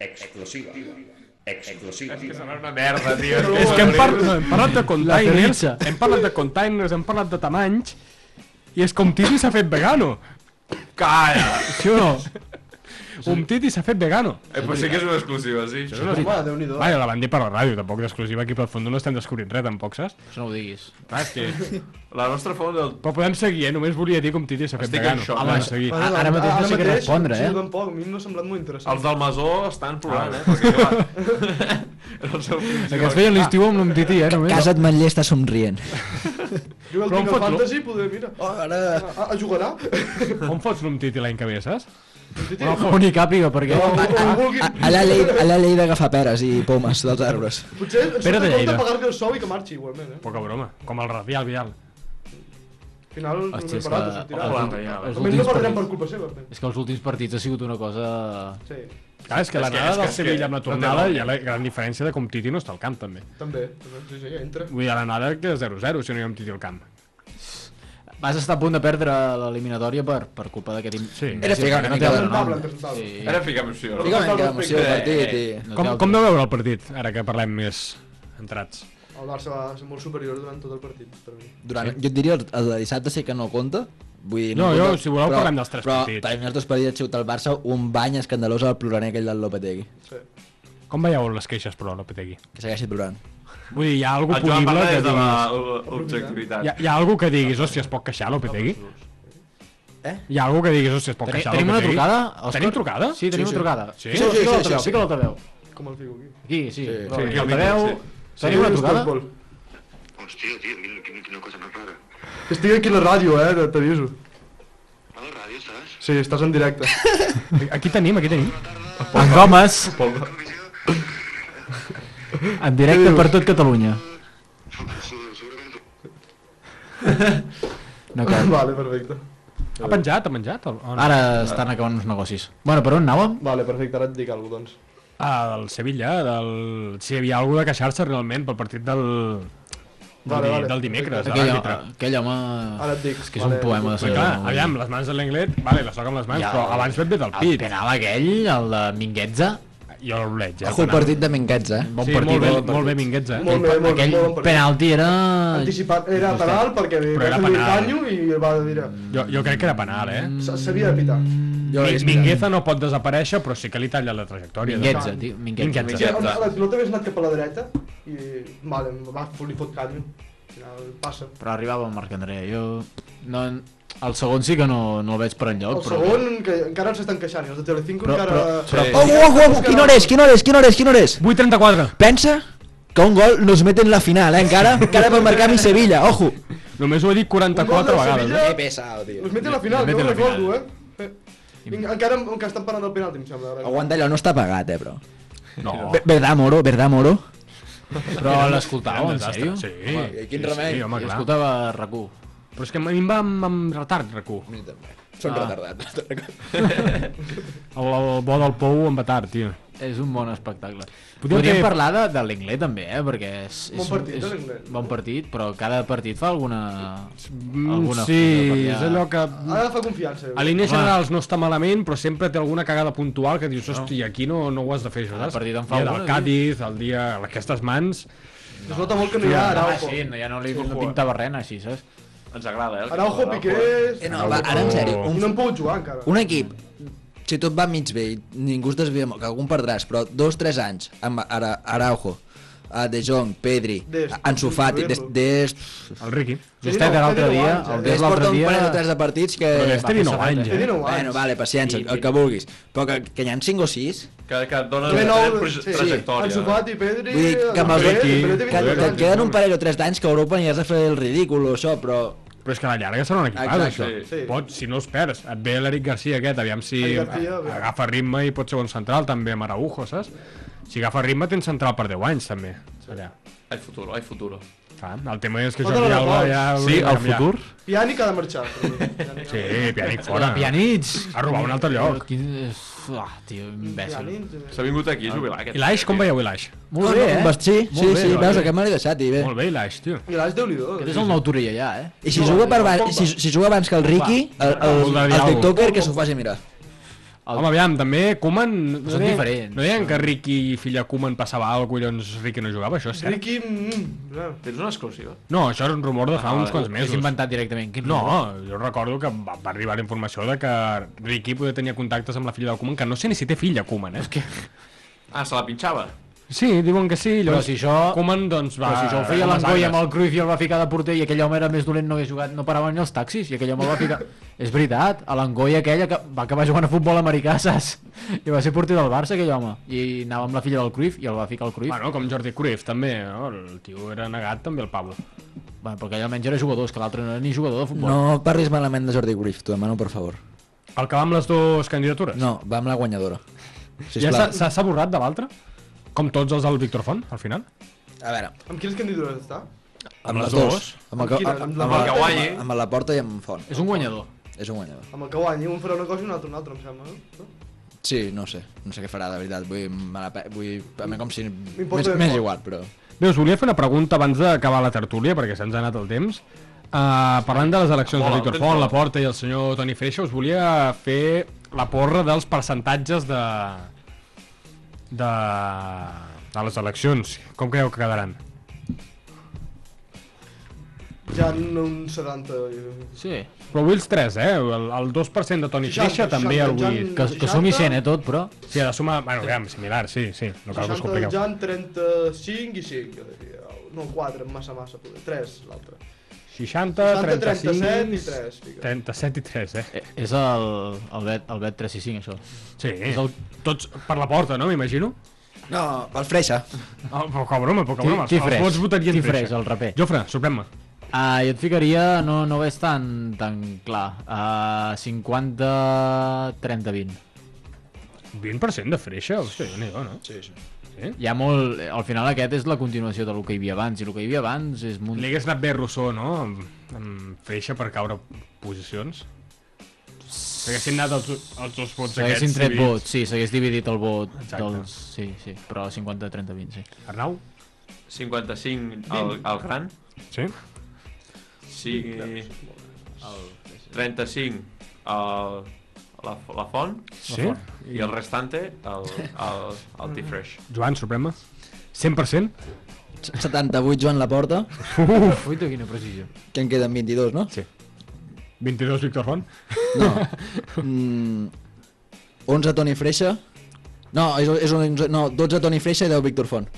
Explosiva. Explosiva.
Una merda, tio.
És que hem, par hem parlat de containers,
ferritxa.
hem parlat de containers, hem parlat de tamanys, i és com Titi s'ha fet vegano.
Calla!
Sí o no? Umtiti s'ha fet vegano.
Eh, però sí que és una exclusiva, sí.
Això és
Ah,
una- Vaja, la van dir per la ràdio, tampoc d'exclusiva aquí pel Fondó no estem descobrint res, tampoc, saps?
Això no ho diguis.
Clar, és que...
*laughs*
La nostra font del...
Però podem seguir, eh? Només volia dir com Titi s'ha fet
Estic en
vegano.
xoc.
Ah,
Podem
Home,
seguir.
Ah,
Ah,
ara- ara mateix no sé què respondre, eh?
Sí, jo tampoc, a mi no ha semblat molt interessant.
Els del Masó estan plorant,
Ah.
eh? Perquè, clar, era el seu
El
principal.
que es feia a l'estiu amb l'Umtiti,
Ah,
eh? Només.
Casa't Manller està somrient.
Jo
Però on
el tinc al
fots l'u-
Fantasy, poder, mira, ah, ara... a, a jugarà.
*laughs* On fots l'Umtiti l'any que ve, saps?
Bueno,
ni càpiga, perquè...
Allà l'he allà l'he d'agafar peres i pomes dels arbres.
Potser ens
Pere
Pere
de
de
Lleida.
pagar-li el sou i que marxi igualment, eh?
Poca broma, com el Radial Vial.
Al final no
Hòstia,
m'he
és que...
parat, ho sortirà.
els ulti- els
Almenys
últims
no perdrem per
partits-
culpa seva. eh. també.
És que els últims partits ha sigut una cosa...
Sí.
Clar, és que l'anada del Sevilla amb la tornada hi ha la gran diferència de com Titi no està al camp, també.
També, també, sí, sí, entra.
Vull dir, a l'anada que és 0-0, si no hi ha un Titi al camp.
Vas estar a punt de perdre l'eliminatòria per, per culpa d'aquest... im-
Sí.
imbècil
Era ficar una
que no té
mica
altre
d'emoció.
nom.
Impresentable,
Sí.
Era ficar emoció. no?
Fica una mica d'emoció al
Eh,
partit
eh,
i-
no té
Com,
altre.
com veu veure el partit, ara que parlem més entrats?
El Barça va ser molt superior durant tot el partit, per mi.
Durant, jo et diria el, el de dissabte sé que no compta. Vull dir,
No, jo,
compta,
si voleu,
però-
parlem dels tres
però
partits.
per mi els dos partits ha sigut el Barça un bany escandalós al ploraner aquell del Lopetegui.
Com veieu les queixes, però, a Lopetegui?
Que segueixi plorant.
Vull dir, hi ha algú
El Joan
punible
parla
que
des de la-
diguis...
l'objectivitat.
Hi ha, hi ha algú que diguis, hòstia, es pot queixar, Lopetegui?
Eh?
Hi ha algú que diguis, hòstia, es pot
Teni-
queixar,
tenim una
Lopetegui?
trucada, Òscar?
Tenim trucada?
Sí, tenim una trucada.
Sí?
Fica- fica l'altaveu, Fica l'altaveu.
Com el figo aquí.
Aquí, sí.
Sí,
Aquí,
el
l'altaveu.
micro, sí.
Tenim
Sí,
una trucada?
Hòstia, tio, quina, quina cosa més rara. Estic aquí a la ràdio, eh, t'aviso. A la ràdio estàs? Sí, estàs en directe.
Aquí tenim, aquí tenim.
En Gomes. *laughs* En directe per tot Catalunya. No cal.
Vale, perfecte.
Ha penjat, ha menjat? O o no?
Ara estan acabant uns negocis. Bueno, per on anàvem?
Vale, perfecte, ara et dic alguna cosa, doncs.
Ah, del Sevilla, del... si hi havia algú de queixar-se realment pel partit del... Del,
Vale,
di-
vale,
del dimecres, de
Aquell,
l'àrbitre.
aquell home...
Ara et dic.
És que és un poema de
Però clar, aviam, les mans de l'Englet, vale, la soca amb les mans,
Ah. Ja, Ah,
però abans ve del
El
pit.
penal aquell, el de Minguetza,
Jo el veig, eh?
Ojo el
penal.
partit de Minguets, eh?
Ah, bon
Sí,
partit.
molt bé,
bon
molt
partit.
bé Minguets, eh?
Molt bé, molt,
aquell
molt bon partit.
penalti era...
Anticipat, era
Justet.
penal perquè
Però era
va fer un
penal.
canyo i va dir, mira,
Jo, jo crec que era penal,
Mm.
eh?
s- s'havia de pitar.
Jo
Mi-
és
Mingueza no pot desaparèixer, però sí que li talla la trajectòria.
Minguetza, tio, Minguetza.
Minguetza.
Sí, amb- la pilota hagués anat cap a la dreta i vale, va, li fot canyo. Al final passa.
Però arribava el Marc Andrea, jo... No, el segon sí que no, no el veig per enlloc,
El
però...
segon, que encara els estan queixant, i els de Telecinco
Però-
encara...
però-
Oh, oh, oh, quina hora és, quina hora és, quina hora és, quina hora és?
8.34.
Pensa que un gol nos mete en la final, eh? Encara, encara per marcar mi Sevilla, ojo.
Només ho he dit
Un gol
44
del
vegades.
Sevilla.
eh?
Que
pesado, tio.
Us meten a la final,
meten
no
a la
recordo, eh? Eh, Vinga, encara en- encara estan parlant del penalti, em sembla. ara.
Aguanta allò, no està pagat, eh, però.
No.
Ver- Verdad, Moro, verdad, Moro.
Però l'escoltava, en sèrio?
Sí.
Home, i quin
sí,
remei.
Sí, home,
Jo
clar.
escoltava RAC1.
Però és que a mi em va amb, amb retard, recu.
Són
Ah.
retardats.
El, el bo del Pou em va tard, tio.
És un bon espectacle.
Podríem
Podríem, Podríem
fer-
parlar de, de l'Inglés també, eh? Perquè és, és,
Bon
un-
partit,
és
de l'Inglés.
bon partit, però cada partit fa alguna...
Mm,
alguna
sí,
excusa
és
per allà. Ah,
allò que...
Ara fa confiança. jo.
A línies
Home.
generals no està malament, però sempre té alguna cagada puntual que dius, hòstia, aquí no, no ho has de fer, això,
Cada
saps?
partit en fa
El dia del
alguna,
Cádiz, el dia... Aquestes mans...
Es nota molt que no hi ha
Ah,
Araujo.
sí, no, ja no, li, no pintava res, així, saps?
Ens agrada, eh? el que
Araujo,
fa
Piqué...
Eh, no, va, ara en sèrio,
I no
un,
han pogut jugar encara.
un equip, si tot va mig bé i ningú es desvia molt, que algun perdràs, però dos, tres anys amb Ara, Araujo, a De Jong, Pedri,
Des,
Ansu Fati, des, des,
El Riqui.
Justet
no,
l'altre
té deu
dia,
anys, eh?
el des
Des
des porta
l'altre
un
dia...
parell o tres de partits que...
Però des té 19
passar
anys, eh?
reta.
Té 19
Bueno,
anys.
vale, paciència, el que vulguis. Però que, que hi ha 5 o 6,
Que, que et dona
Té
una
nou-
proje-
sí.
trajectòria.
Ansu Fati, Pedri...
vull dir que amb els
Dembélé,
equips,
Dembélé té
que
22
et
anys.
queden un parell o tres d'anys que a Europa n'hi has de fer el ridícul o això, però...
Però és que a la llarga serà un equipàs, això.
Exacte,
sí.
Pot, si no els perds, et ve l'Eric Garcia aquest, aviam si
Eric Garcia,
a-
aviam.
agafa ritme i pot ser bon central, també amb Araujo, saps? Si agafa ritme tens central per 10 anys, també. Allà.
Hay futuro, hay futuro.
Clar, el tema és que
Fota
Jordi
la
Alba
Pau.
ja...
Ah,
hauria de canviar.
Piani que ha de marxar. per mi.
Sí, Pianic fora.
Fora. Pianits!
A robar un altre Ah, lloc.
Ah. Quin... Ah, tio, imbècil.
Piani,
S'ha vingut aquí a jubilar aquest.
I l'Aix, com veieu l'Aix?
Molt bé, eh?
Sí, sí,
Molt bé,
sí,
no?
veus, aquest me l'he deixat, i bé.
Molt bé, l'Aix, tio.
I l'Aix, déu-n'hi-do.
Aquest és el nou Torell allà, eh?
I si juga, per, ba- i si, si juga abans que el Ricky, el, el, el,
Vol de dir alguna cosa.
TikToker que s'ho faci mirar.
El... Home, aviam, també Koeman... No
Són
deien-
diferents.
No deien que Ricky i filla Koeman passava alguna cosa, collons, Ricky no jugava, això és cert?
Ricky... Mm,
Tens una exclusiva?
No, això és un rumor de fa
Ah,
uns quants
l'has
mesos.
inventat directament. Quin
no,
rumor?
jo recordo que va, va arribar la informació de que Ricky podia tenir contactes amb la filla de Koeman, que no sé ni si té filla Koeman, eh? Que...
Ah, se la pinxava.
Sí, diuen que sí, llavors
Però si això-
Koeman doncs va...
Però si això ho feia l'Angoi amb el Cruyff i el va ficar de porter i aquell home era més dolent, no hagués jugat, no paraven ni els taxis i aquell home el va
*laughs*
ficar... és veritat, a l'Angoi aquella que va acabar jugant a futbol americà, *laughs* saps? I va ser porter del Barça aquell home i anava amb la filla del Cruyff i el va ficar al Cruyff.
Bueno, com Jordi Cruyff també, no? el tio era negat també el Pablo.
Bueno, però aquell almenys era jugador, és que l'altre no era ni jugador de futbol.
No parlis malament de Jordi Griff, t'ho demano, per favor.
El que va amb les dues candidatures?
No, va amb la
*laughs*
guanyadora.
Ja s'ha- s'ha- s'ha borrat de l'altre? Com tots els del Víctor Font, al final?
A veure.
Amb quines candidatures està?
Amb les
dos.
dues?
Amb el,
Quina?
amb,
Amb
amb,
la
la,
que guanyi.
amb, amb la porta i amb Font.
És un guanyador.
És un guanyador.
Amb el que guanyi, un farà una cosa i un altre una altra, em sembla. no?
Sí, no sé, no sé què farà, de veritat. Vull, me la, pe- vull, a mi com si... M'és
ben
m'és
poc.
igual, però...
Bé, us volia fer una pregunta abans d'acabar la tertúlia, perquè se'ns ha anat el temps. Uh, parlant de les eleccions
Hola,
de Víctor
tens
Font,
raó.
la Porta i el senyor Toni Freixa, us volia fer la porra dels percentatges de... de... de les eleccions. Com creieu que quedaran?
Ja en un 70... eh,
Sí.
Però vull els tres, eh? El, el 2% de Toni
60,
Freixa també el
60,
vull...
Que- que sumi 60. 100, eh,
tot, però...
Sí, ha de sumar... Bueno, aviam, similar, sí, sí. No cal que us
60
compliqueu.
del Jan, 35 i 5, jo diria. No, 4, massa, massa, poder. 3, l'altre.
60,
60, 37 i 3, fica.
37 i 3, eh?
És el, el, bet, el bet 3 i 5, això.
Sí, és el... tots per la porta, no, m'imagino?
No, pel Freixa.
Oh, poca broma, poca broma.
Ti-
Els-
Tifrés.
Els vots votarien
Tifrés,
Freixa.
el raper.
Jofre, sorprèn-me.
Ah, jo et ficaria, no, no ho és tan, tan clar, uh, 50, 30, 20.
20% de freixa, hòstia, déu nhi no?
Sí, sí.
Sí?
Hi ha molt... Al final aquest és la continuació de lo que hi havia abans, i el que hi havia abans és... Munt...
Li hagués anat bé Rousseau, no? Amb, amb freixa per caure posicions. S'haguessin anat els, els dos vots
S'haguessin
aquests.
tret
dividits.
vot, sí, s'hagués dividit el vot
Exacte.
dels... Sí, sí, però 50, 30, 20, sí.
Arnau?
55 al, al gran.
Sí.
Sí. El 35 al, la, la font.
Sí.
I el restante al, al, al T-Fresh.
Joan, sorprèn-me. 100%?
78 Joan Laporta.
Uf!
Uita, quina precisió.
Que en queden 22, no?
Sí. 22 Víctor Font?
No. Mm, 11 Toni Freixa. No, és, és un, no, 12 Toni Freixa i 10 Víctor Font.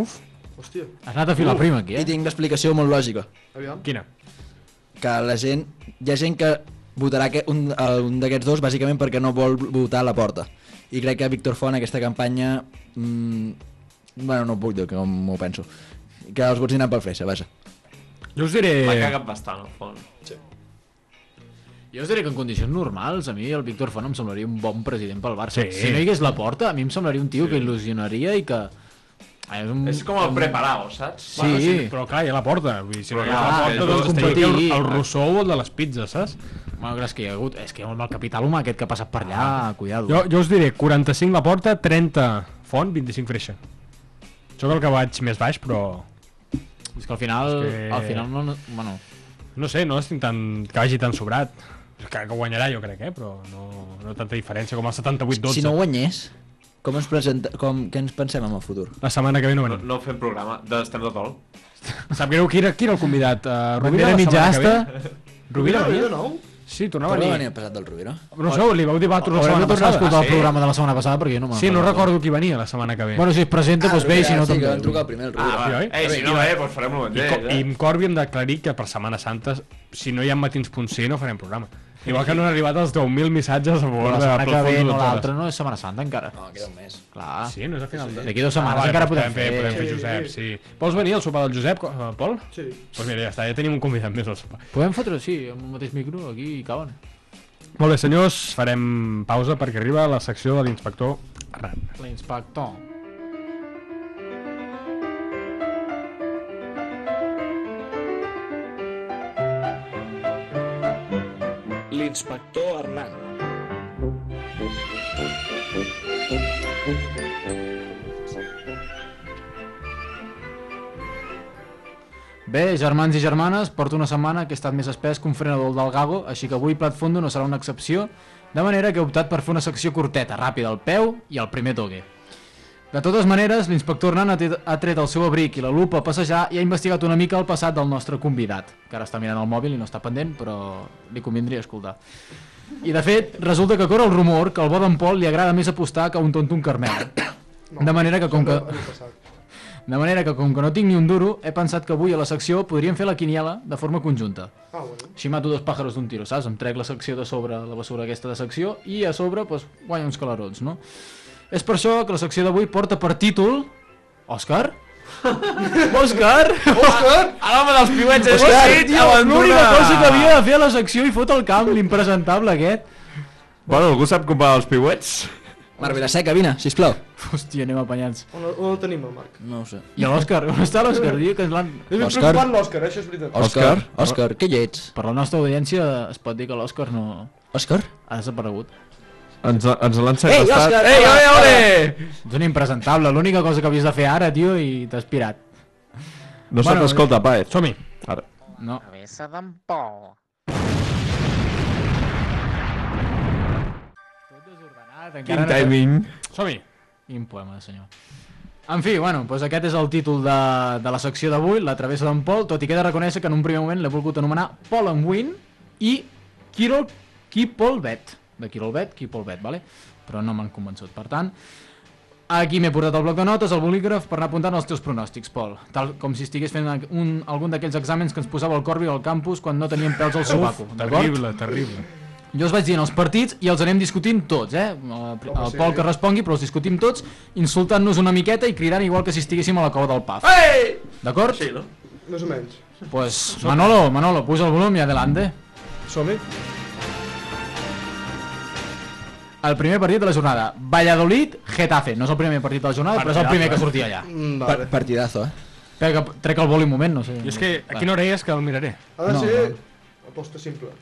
Uf.
Hòstia.
Has anat a filar prima, aquí, eh?
I tinc l'explicació molt lògica.
Aviam.
Quina?
Que la gent... Hi ha gent que votarà que un, el- un d'aquests dos bàsicament perquè no vol votar a la porta. I crec que Víctor Font aquesta campanya... Mm, bueno, no puc dir que com m'ho penso. Que els vots aniran pel Freixa, vaja.
Jo us diré...
L'ha cagat bastant, al font.
Sí.
Jo us diré que en condicions normals a mi el Víctor Font em semblaria un bon president pel Barça.
Sí.
Si no hi hagués la porta, a mi em semblaria un tio sí. que il·lusionaria i que... eh, És, un,
És com el preparado, saps?
Sí. Bueno, sí,
Ah, però clar, hi ha la porta. Vull dir, si no hi ha
Clar,
la
és
porta,
el
doncs
competir.
estaria aquí el, el Rousseau o el de les pizzas, saps?
Bueno, clar, és que hi ha hagut... És que hi ha molt mal capital humà aquest que ha passat per allà, cuidado.
Ah. Jo, jo us diré, 45 la porta, 30 font, 25 freixa. Sóc el que vaig més baix, però...
És que al final,
És que-
al final no, no, bueno,
No sé, no estic tan... que vagi tan sobrat. És Que, que guanyarà, jo crec, eh? però no, no tanta diferència com el 78-12.
Si no guanyés, com ens presenta, com, què ens pensem en el futur?
La setmana que ve no
No,
venim.
no fem programa, d'estem de dol.
Sap greu, qui era, qui era el convidat? Uh, Rovira,
Bandera
la setmana que ve?
mitjasta.
Rovira venia?
venia de nou?
Sí,
No
tornava
va
a
venir
venir.
el passat del Rovira?
No ho sé, li vau dir vosaltres la
Haurem de
setmana
tornar a escoltar
passada. Ah,
el programa de la setmana passada perquè jo no me'n
Sí, no
recordo.
recordo qui venia la setmana que ve.
Bueno, si es presenta, doncs bé, i si no
sí, que
també.
van trucar primer el Rovira.
Ah, va.
oi?
Ei, si no ve, doncs farem-ho
I,
mateix,
co-
eh?
I amb Corbi hem d'aclarir que per Setmana Santa, si no hi ha matins.c, no farem programa. Igual que no han arribat els 10.000 missatges a
Però
favor
la
de
setmana que ve,
Platform
no
Doctores.
l'altra, no és Setmana Santa encara.
No, queda un mes.
Clar.
Sí, no és a final de...
D'aquí dues setmanes encara
doncs
podem fer.
Podem fer
Sí,
Josep, sí. Vols venir al sopar del Josep, co- eh, Pol?
Sí.
Doncs mira, ja està, ja tenim un convidat més al sopar.
Podem fotre, sí, amb el mateix micro, aquí i cauen.
Molt bé, senyors, farem pausa perquè arriba la secció de l'inspector Arran.
L'inspector.
L'inspector Hernán.
Bé, germans i germanes, porto una setmana que he estat més espès que un frenador del Gago, així que avui Plat Fondo no serà una excepció, de manera que he optat per fer una secció curteta, ràpida, al peu i al primer toque. De totes maneres, l'inspector Nan ha tret- ha tret el seu abric i la lupa a passejar i ha investigat una mica el passat del nostre convidat, que ara està mirant el mòbil i no està pendent, però li convindria escoltar. I de fet, resulta que corre el rumor que al bo d'en Pol li agrada més apostar que a un tonto un carmel. De manera que com que... De manera que com que no tinc ni un duro, he pensat que avui a la secció podríem fer la quiniela de forma conjunta.
Ah, bueno.
Així mato dos pàjaros d'un tiro, saps? Em trec la secció de sobre, la bessura aquesta de secció, i a sobre pues, guanya uns calarons, no? És per això que la secció d'avui porta per títol... Òscar?
*laughs*
Òscar? Òscar? A l'home dels
eh,
piuets, és
Òscar,
així,
tio,
abandona! L'única
abandona.
cosa que havia de fer a la secció i fot el camp, l'impresentable aquest.
Bueno, algú sap comprar els piuets?
Marc Vilaseca, vine, sisplau.
Hòstia, anem apanyats.
On, el- on el tenim, el Marc?
No ho sé.
I a l'Òscar? On està
*laughs*
l'Òscar? Diu que ens l'han...
És ben preocupant l'Òscar, eh? això és veritat.
Òscar, Òscar, què llets?
Per la nostra audiència es pot dir que l'Òscar no...
Òscar?
Ha desaparegut.
Ens, ens l'han
Ei,
segrestat.
Òscar!
Ei, ole, ole!
És un impresentable, l'única cosa que havies de fer ara, tio, i t'has pirat.
No bueno,
Bueno,
s'escolta, Paet.
eh, Som-hi.
Ara.
No.
Travessa d'en Pol.
Quin timing.
Som-hi.
Quin poema, senyor. En fi, bueno, doncs aquest és el títol de, de la secció d'avui, La travessa d'en Pol, tot i que he de reconèixer que en un primer moment l'he volgut anomenar Pol and Win i Kirol Kipolbet. De Kirolbet, Kipolbet, vale? Però no m'han convençut, per tant... Aquí m'he portat el bloc de notes, el bolígraf, per anar apuntant els teus pronòstics, Pol. Tal com si estigués fent un, algun d'aquells exàmens que ens posava el Corbi al campus quan no teníem pèls al sobaco, d'acord?
terrible, terrible.
Jo els vaig dient els partits i els anem discutint tots, eh? El, el Pol que respongui, però els discutim tots, insultant-nos una miqueta i cridant igual que si estiguéssim a la cova del Paf.
Ei!
D'acord?
Sí, no? Més o menys.
Pues, Manolo, Manolo, puja el volum i adelante.
Som-hi.
El primer partit de la jornada. Valladolid-Getafe. No és el primer partit de la jornada, però és el primer que sortia allà.
Mm,
Par
vale.
partidazo, eh?
Espera que trec el vol un moment, no sé.
I és que a quina hora és que el miraré?
Ha de
No,
ser aposta simple.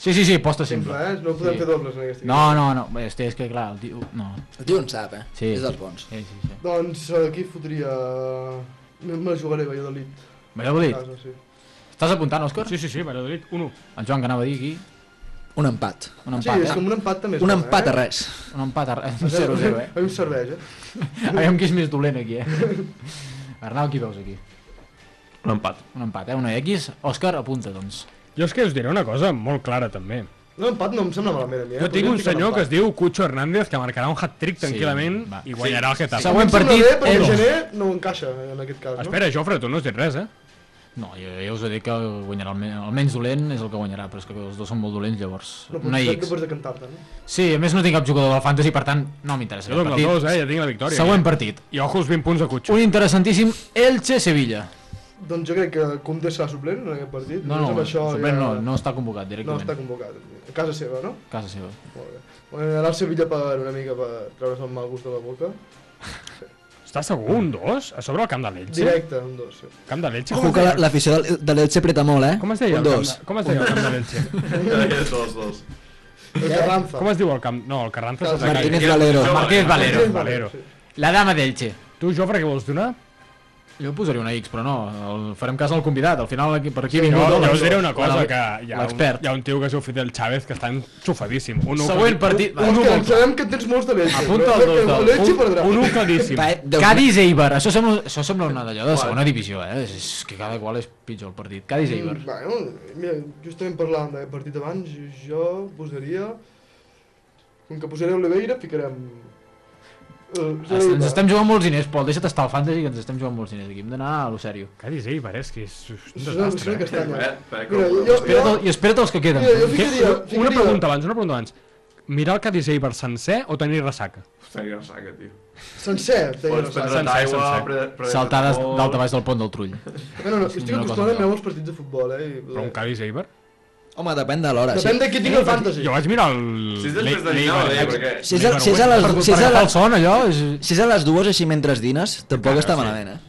Sí, sí, sí, posta
Simple,
simple.
eh? No podem
Sí.
fer dobles en aquesta.
No, no, no. Bé, Este, és que clar, el tio... No.
El tio en sap, eh?
Sí.
És dels bons.
Sí, sí, sí.
Doncs eh, aquí fotria... eh, Me me la jugaré, Valladolid.
Valladolid.
Casa, Ah, sí.
Estàs apuntant, Òscar?
Sí, sí, sí, Valladolid, 1-1.
El Joan que anava a dir aquí.
Un empat.
Un
Sí,
empat,
és
eh?
com un empat també. és
Un
bo,
empat
eh?
a res.
Un empat a res.
A
0-0, eh?
A mi em serveix, eh?
*laughs* Aviam qui és més dolent aquí, eh? *laughs* Arnau, qui veus aquí?
Un empat.
Un empat, eh? Una X. Òscar, apunta, doncs.
Jo és que us diré una cosa molt clara, també.
Un empat no em sembla malament a mi, eh?
Jo tinc
Podríem
un
ficar
senyor que es
empat.
diu Cucho Hernández que marcarà un hat-trick
Sí,
tranquil·lament
va.
i guanyarà el Getafe.
Següent
Em sembla
partit,
bé, perquè el
Edo.
gener Eh? no encaixa, en aquest cas, no?
Espera, Jofre, tu no has dit res, eh?
No, jo, jo us he dit que guanyarà el, me el menys dolent és el que guanyarà, però és que els dos són molt dolents, llavors.
No pots,
Una
no
X.
pots decantar-te, no?
Sí, a més no tinc cap jugador del Fantasy, per tant, no m'interessa
Jo
aquest
dono el
partit.
dos, eh? Ja tinc la victòria.
Següent
eh?
partit.
I ojo els 20 punts de Cucho.
Un interessantíssim Elche-Sevilla.
Doncs jo crec que Comte serà suplent en aquest partit.
No,
Només
no,
amb això
suplent no, no està convocat
no està
directament.
convocat. A casa seva, no?
Casa seva.
Molt bé. Bueno, anar al Sevilla per una mica per treure's el mal gust de la boca.
Estàs segur? Un 2? A sobre el camp de l'Elche?
Directe, un dos.
*laughs*
Sí.
Camp de l'Elche?
Ojo que la- l'afició de, de l'Elche preta molt, eh?
Com es deia?
Un
el camp
dos.
de- Com es deia el camp de
*laughs*
l'Elche?
dos, dos.
El Carranza.
Com es diu el camp? No, el Carranza s'ha de
Martínez
caure.
Valero.
Martínez Valero.
Martínez
Valero.
La dama d'Elche.
Tu, Jofre, què vols donar?
Jo posaria una X, però no, el farem cas al convidat. Al final, aquí, per aquí ha
Jo,
vingut... el-
jo us diré una cosa,
el-
que hi ha, un,
L'expert.
hi ha un tio que es diu Fidel Chávez que està xufadíssim. Un u
Següent
que-
partit.
Un, un,
És
u
que
molt clar.
sabem que tens molts de l'Elche.
Apunta
però
el dos
crec que
del-
L'Elche
un-
perdrà.
un u claríssim.
Va, eh, Déu
Cádiz Eibar, això sembla, això sembla una d'allò de segona divisió, eh? És, és que cada qual és pitjor el partit. Cádiz Eibar.
Mm, Bueno, mira, justament parlant d'aquest partit abans, jo posaria... Com que posaré Oliveira, ficarem... Uh,
Ens, ens Ah, estem jugant molts diners, Pol, deixa't estar al fantasy que ens estem jugant molts diners aquí, hem d'anar a lo sèrio.
Cádiz Eibar, és que és un
Això és una
desastre.
que
eh?
està allà.
Espera,
Mira, jo,
Espera't, el- I espera't els que queden.
mira, jo
Què?
ficaria...
Una
ficaria-
pregunta abans, una pregunta abans. Mirar el Cádiz Eibar sencer o tenir ressaca?
Hòstia, que saca, tio.
Sencer, deia
Pots
la Sara.
prendre't
Sencer,
aigua,
sencer.
pre- oh. prendre't
Saltades
alcohol.
d'alta baix del pont del Trull.
Bueno, no, estic
Una cosa
acostumat a
millor.
mirar molts partits de futbol, eh? i-
Però un Cádiz Eibar?
Home, depèn de l'hora, sí.
Depèn de qui tingui el fantasy.
Jo vaig mirar el...
Si és després de
l'Ei-
dinar,
l'Eibar.
eh, perquè...
Si és, a, si és a les, si
Si
és a
el
les,
son, allò, és...
si és a les dues així mentre dines, tampoc
Encara,
està
sí.
malament, eh?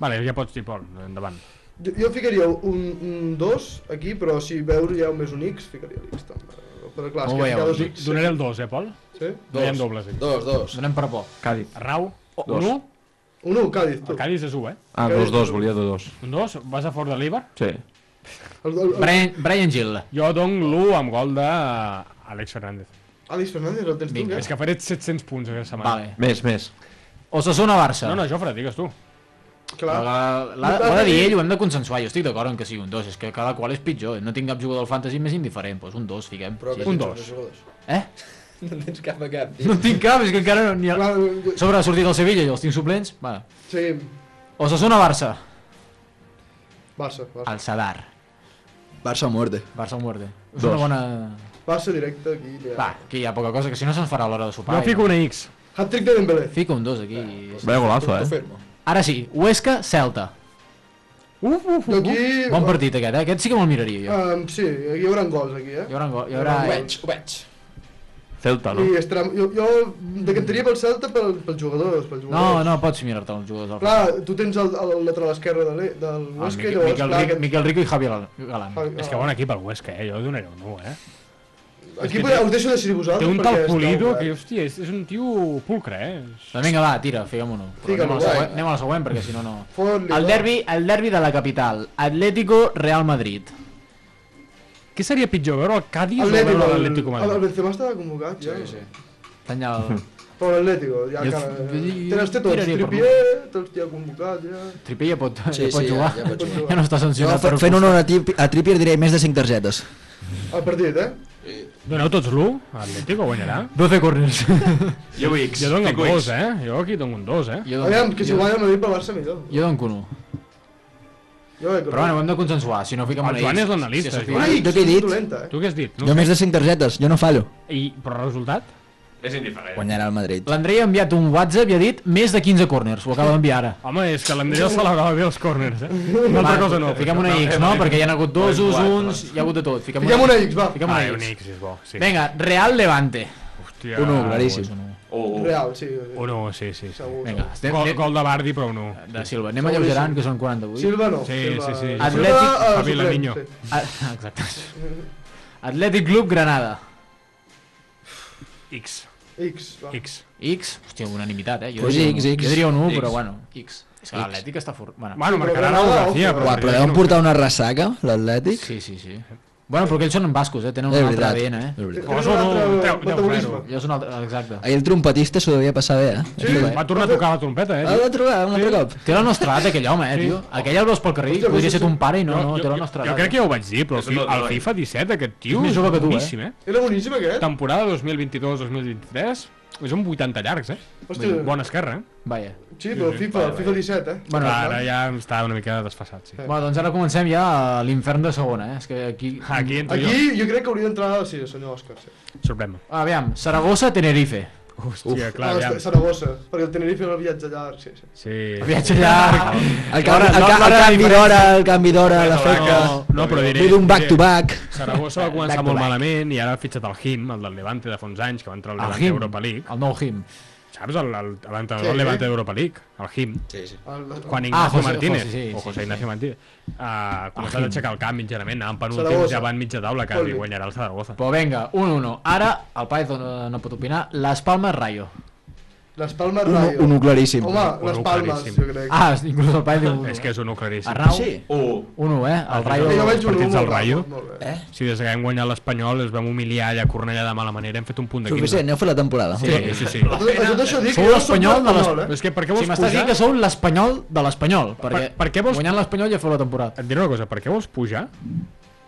Vale, ja pots dir, Pol, endavant.
Jo, jo ficaria un, un 2 aquí, però si veus ja un més un X, ficaria l'X també. Però clar, és
Ho
que
veieu,
ficar dos
di-
X...
Donaré el 2, eh, Pol?
Sí?
No hi ha dobles aquí.
Dos, dos.
Donem per por.
Cádiz.
Rau,
Dos.
un 1,
Un 1, Cádiz, tu.
El Cádiz és 1, eh?
Ah, 2-2, volia 2-2.
Un 2, vas a fort de l'Ibar?
Sí.
Brian, Brian Gill. Jo dono l'1 amb gol de eh, Àlex Fernández.
Àlex Fernández, el tens tu, eh?
Vinga. És que faré 700 punts aquesta setmana.
Vale.
Més, més.
Osasuna-Barça.
No, no, Jofre, digues tu.
Clar.
L'ha l'ha de dir ell, ho hem de consensuar. Jo estic d'acord en que sigui un 2, és que cada qual és pitjor. No tinc cap jugador del fantasy més indiferent, doncs un 2, fiquem.
Però que
un
tens
2.
jugadors.
Eh?
No en tens cap a cap.
No en tinc cap, és que encara no... Ni... El... A sobre ha sortit el Sevilla i els tinc suplents. Va.
Seguim.
Osasuna-Barça.
Barça, Barça.
El Sadar.
Barça a muerte.
Ah, Barça a muerte. És
Dos.
una bona...
Barça directe aquí. Ja.
Va, aquí hi ha poca cosa, que si no se'ns farà a l'hora de sopar.
Jo fico
una X.
Hat-trick de Dembélé.
Fico un 2 aquí.
Vaya golazo, eh?
Ara sí, Huesca-Celta.
Uf, uf,
uf. Aquí-
Bon partit aquest, eh? Aquest sí que me'l miraria jo.
Um, sí, hi haurà gols aquí, eh?
Hi haurà gols, hi haurà...
ho veig.
Celta,
I estarà... Jo, jo decantaria pel Celta pel, pels jugadors, pels
No,
jugadors.
no pots mirar-te els jugadors del
Clar, tu tens el, el lateral esquerre de l'E- del
El
Huesca i
Ah, Miquel,
llavors...
Miquel,
clar,
Rico,
aquest-
Miquel Rico i Javi Gal- Galán.
Javi Galán.
És que bon equip el Huesca, eh? Jo donaré un 1, eh?
Aquí podeu- us deixo decidir
Té
vosaltres,
un
perquè
tal
esteu
Pulido
oberts.
que, hòstia, és, és un tio pulcre, eh?
Doncs vinga, va, tira, figuem un 1. Anem
Fica-lo,
a la següent,
eh?
guai.
anem a la següent perquè si no, no.
Fot-li,
El
eh?
va.
derbi, el derbi de la capital. Atlético-Real Madrid.
Què seria pitjor, veure el Cádiz
El
o veure
Atlético, el,
l'Atlético de
el,
Madrid?
el Benzema estava convocat, ja. Sí,
Tanya
Hm.
el...
Però l'Atlético, ja
Jo-
encara...
jo- jo-
Té els té tots,
tiraria per
Trippier, tots ja convocat, ja...
Trippier ja pot,
Sí,
ja pot
sí, ja-
jugar.
ja pot jugar.
*laughs* Ja no està sancionat.
Jo, fent un honor a, Trippi- a Trippier diré més de 5 targetes.
El partit, eh?
Doneu tots l'1? Atlético guanyarà?
12 corners.
Jo,
X,
jo dono un
*laughs* fico X.
2, eh? Jo aquí dono un 2, eh?
Jo
Aviam, que si guanya el Madrid pel Barça millor.
Jo dono un 1.
Jo eh, crec que...
Però bueno, ho hem de consensuar, si no fiquem
El
una
Joan
X.
és l'analista,
Si
Joan.
s'afirma-
Jo què he dit?
eh.
Tu què has dit?
Jo més de 5 targetes, jo no fallo.
I, però el resultat?
És indiferent.
Guanyarà el Madrid.
L'Andrei ha enviat un WhatsApp i ha dit més de 15 corners, ho acaba d'enviar ara.
Home, és que l'Andreu celebrava bé els corners, eh? *laughs* Una altra
Va,
cosa no. eh,
Fiquem una X, no? Perquè hi ha hagut dosos, uns, hi ha hagut de tot.
Fiquem una X,
va.
Fiquem una
Ah,
X.
una X és bo, sí.
Vinga, Real Levante. Ah,
Hòstia.
Un u, claríssim.
Un u.
Oh. Real, sí.
Un u, sí, sí.
Vinga, estem-
Gol, gol de Bardi, però un 1.
De Silva. Anem alleugerant, que són 48.
Silva no,
Sí,
Silva-
sí, sí.
Atlètic...
Silva, eh, Javi suplent, Lamiño. sí.
Ah, *laughs* Exacte. Atlètic Club Granada.
X.
X,
Ah.
va.
X.
X? Hòstia, unanimitat, eh? Jo,
Pues
diria
X,
un u.
X.
jo diria un 1,
X.
però bueno, X. És que
X.
l'Atlètic està fort. Bueno,
Bueno,
marcarà
la Garcia, però-
Uà, però deuen portar una ressaca, l'Atlètic.
Sí, sí, sí. Bueno, però aquells són en bascos, eh? Tenen
És
un altre
veritat,
ADN, eh?
és veritat.
Tenen un altre Treu- treu metabolisme.
Ja és un altre... Exacte.
Ahir el trompetista s'ho devia passar bé, eh?
Va tornar a tocar la trompeta, eh?
Ah, va trobar un altre cop.
Té la nostra edat, aquell home, eh,
Sí.
tio? Aquell el veus pel carrer,
Hòstia,
podria
sí,
ser ton pare i no,
Jo-
no,
jo-
té la nostra
Jo
edat.
crec que ja ho vaig dir, però
És un
al
noi.
FIFA 17 aquest tio
És més jove que tu, eh?
boníssim, eh?
Era boníssim aquest.
Temporada 2022-2023, és un 80 llargs, eh?
Hòstia.
Bona esquerra, eh?
Vaja.
Sí, però FIFA, FIFA 17, eh?
Bueno, ara ja està una mica desfasat, sí.
Bueno, doncs ara comencem ja a l'infern de segona, eh? És que aquí...
Aquí entro
Aquí jo crec que hauria d'entrar, sí, el senyor Òscar, sí.
Sorprèn-me.
Aviam, Saragossa-Tenerife.
Hòstia,
Ah, és que Saragossa, perquè el Tenerife era el viatge llarg, sí, sí.
Sí.
El viatge llarg.
El, ca el, ca el canvi d'hora, el canvi d'hora, l'efecte...
No, no, però diré...
Vull d'un back-to-back.
Saragossa
Eh,
va començar
Back to
molt
back.
malament i ara ha fitxat el Him, el del Levante de fa uns anys, que va entrar al
El
Levante
Him,
Europa League.
El nou Him.
Saps? el- el- L'entrenador
Sí.
del Levante d'Europa League, el Him. Sí, sí.
El-
Juan
Ah,
Ignacio
José-
Martínez,
José, sí,
o
sí,
José
sí.
Ignacio Martínez, ha començat
Him.
a aixecar el camp mitjanament, anant penúltims,
Saragossa.
ja van mitja taula, que
Vol
li
dir.
guanyarà el Saragossa.
Però vinga, 1-1. Ara, el Paez no, no pot opinar, Les Palmes Rayo.
Les Palmes
Un-
Rayo.
un u claríssim.
Home,
Un
les
u
Palmes,
claríssim.
jo crec.
Ah, inclús el Paez diu un u.
És que Oh. és un u claríssim.
Arnau,
Sí.
1-1, eh? El Rayo...
Els partits del Rayo.
Eh?
Si des que hem guanyat l'Espanyol es vam humiliar allà a Cornellà de mala manera, hem fet un punt de 15.
Suficient, heu fet la temporada.
Sí,
eh?
sí, sí.
La pena. Jo d'això dic que
Sou
jo soc
l'Espanyol de
l'Espanyol,
l'Espanyol,
eh? És que per què vols
si m'estàs
pujar-
dient que sou l'Espanyol de l'Espanyol, perquè
per què vols...
guanyant l'Espanyol ja feu la temporada.
Et diré una cosa, per què vols pujar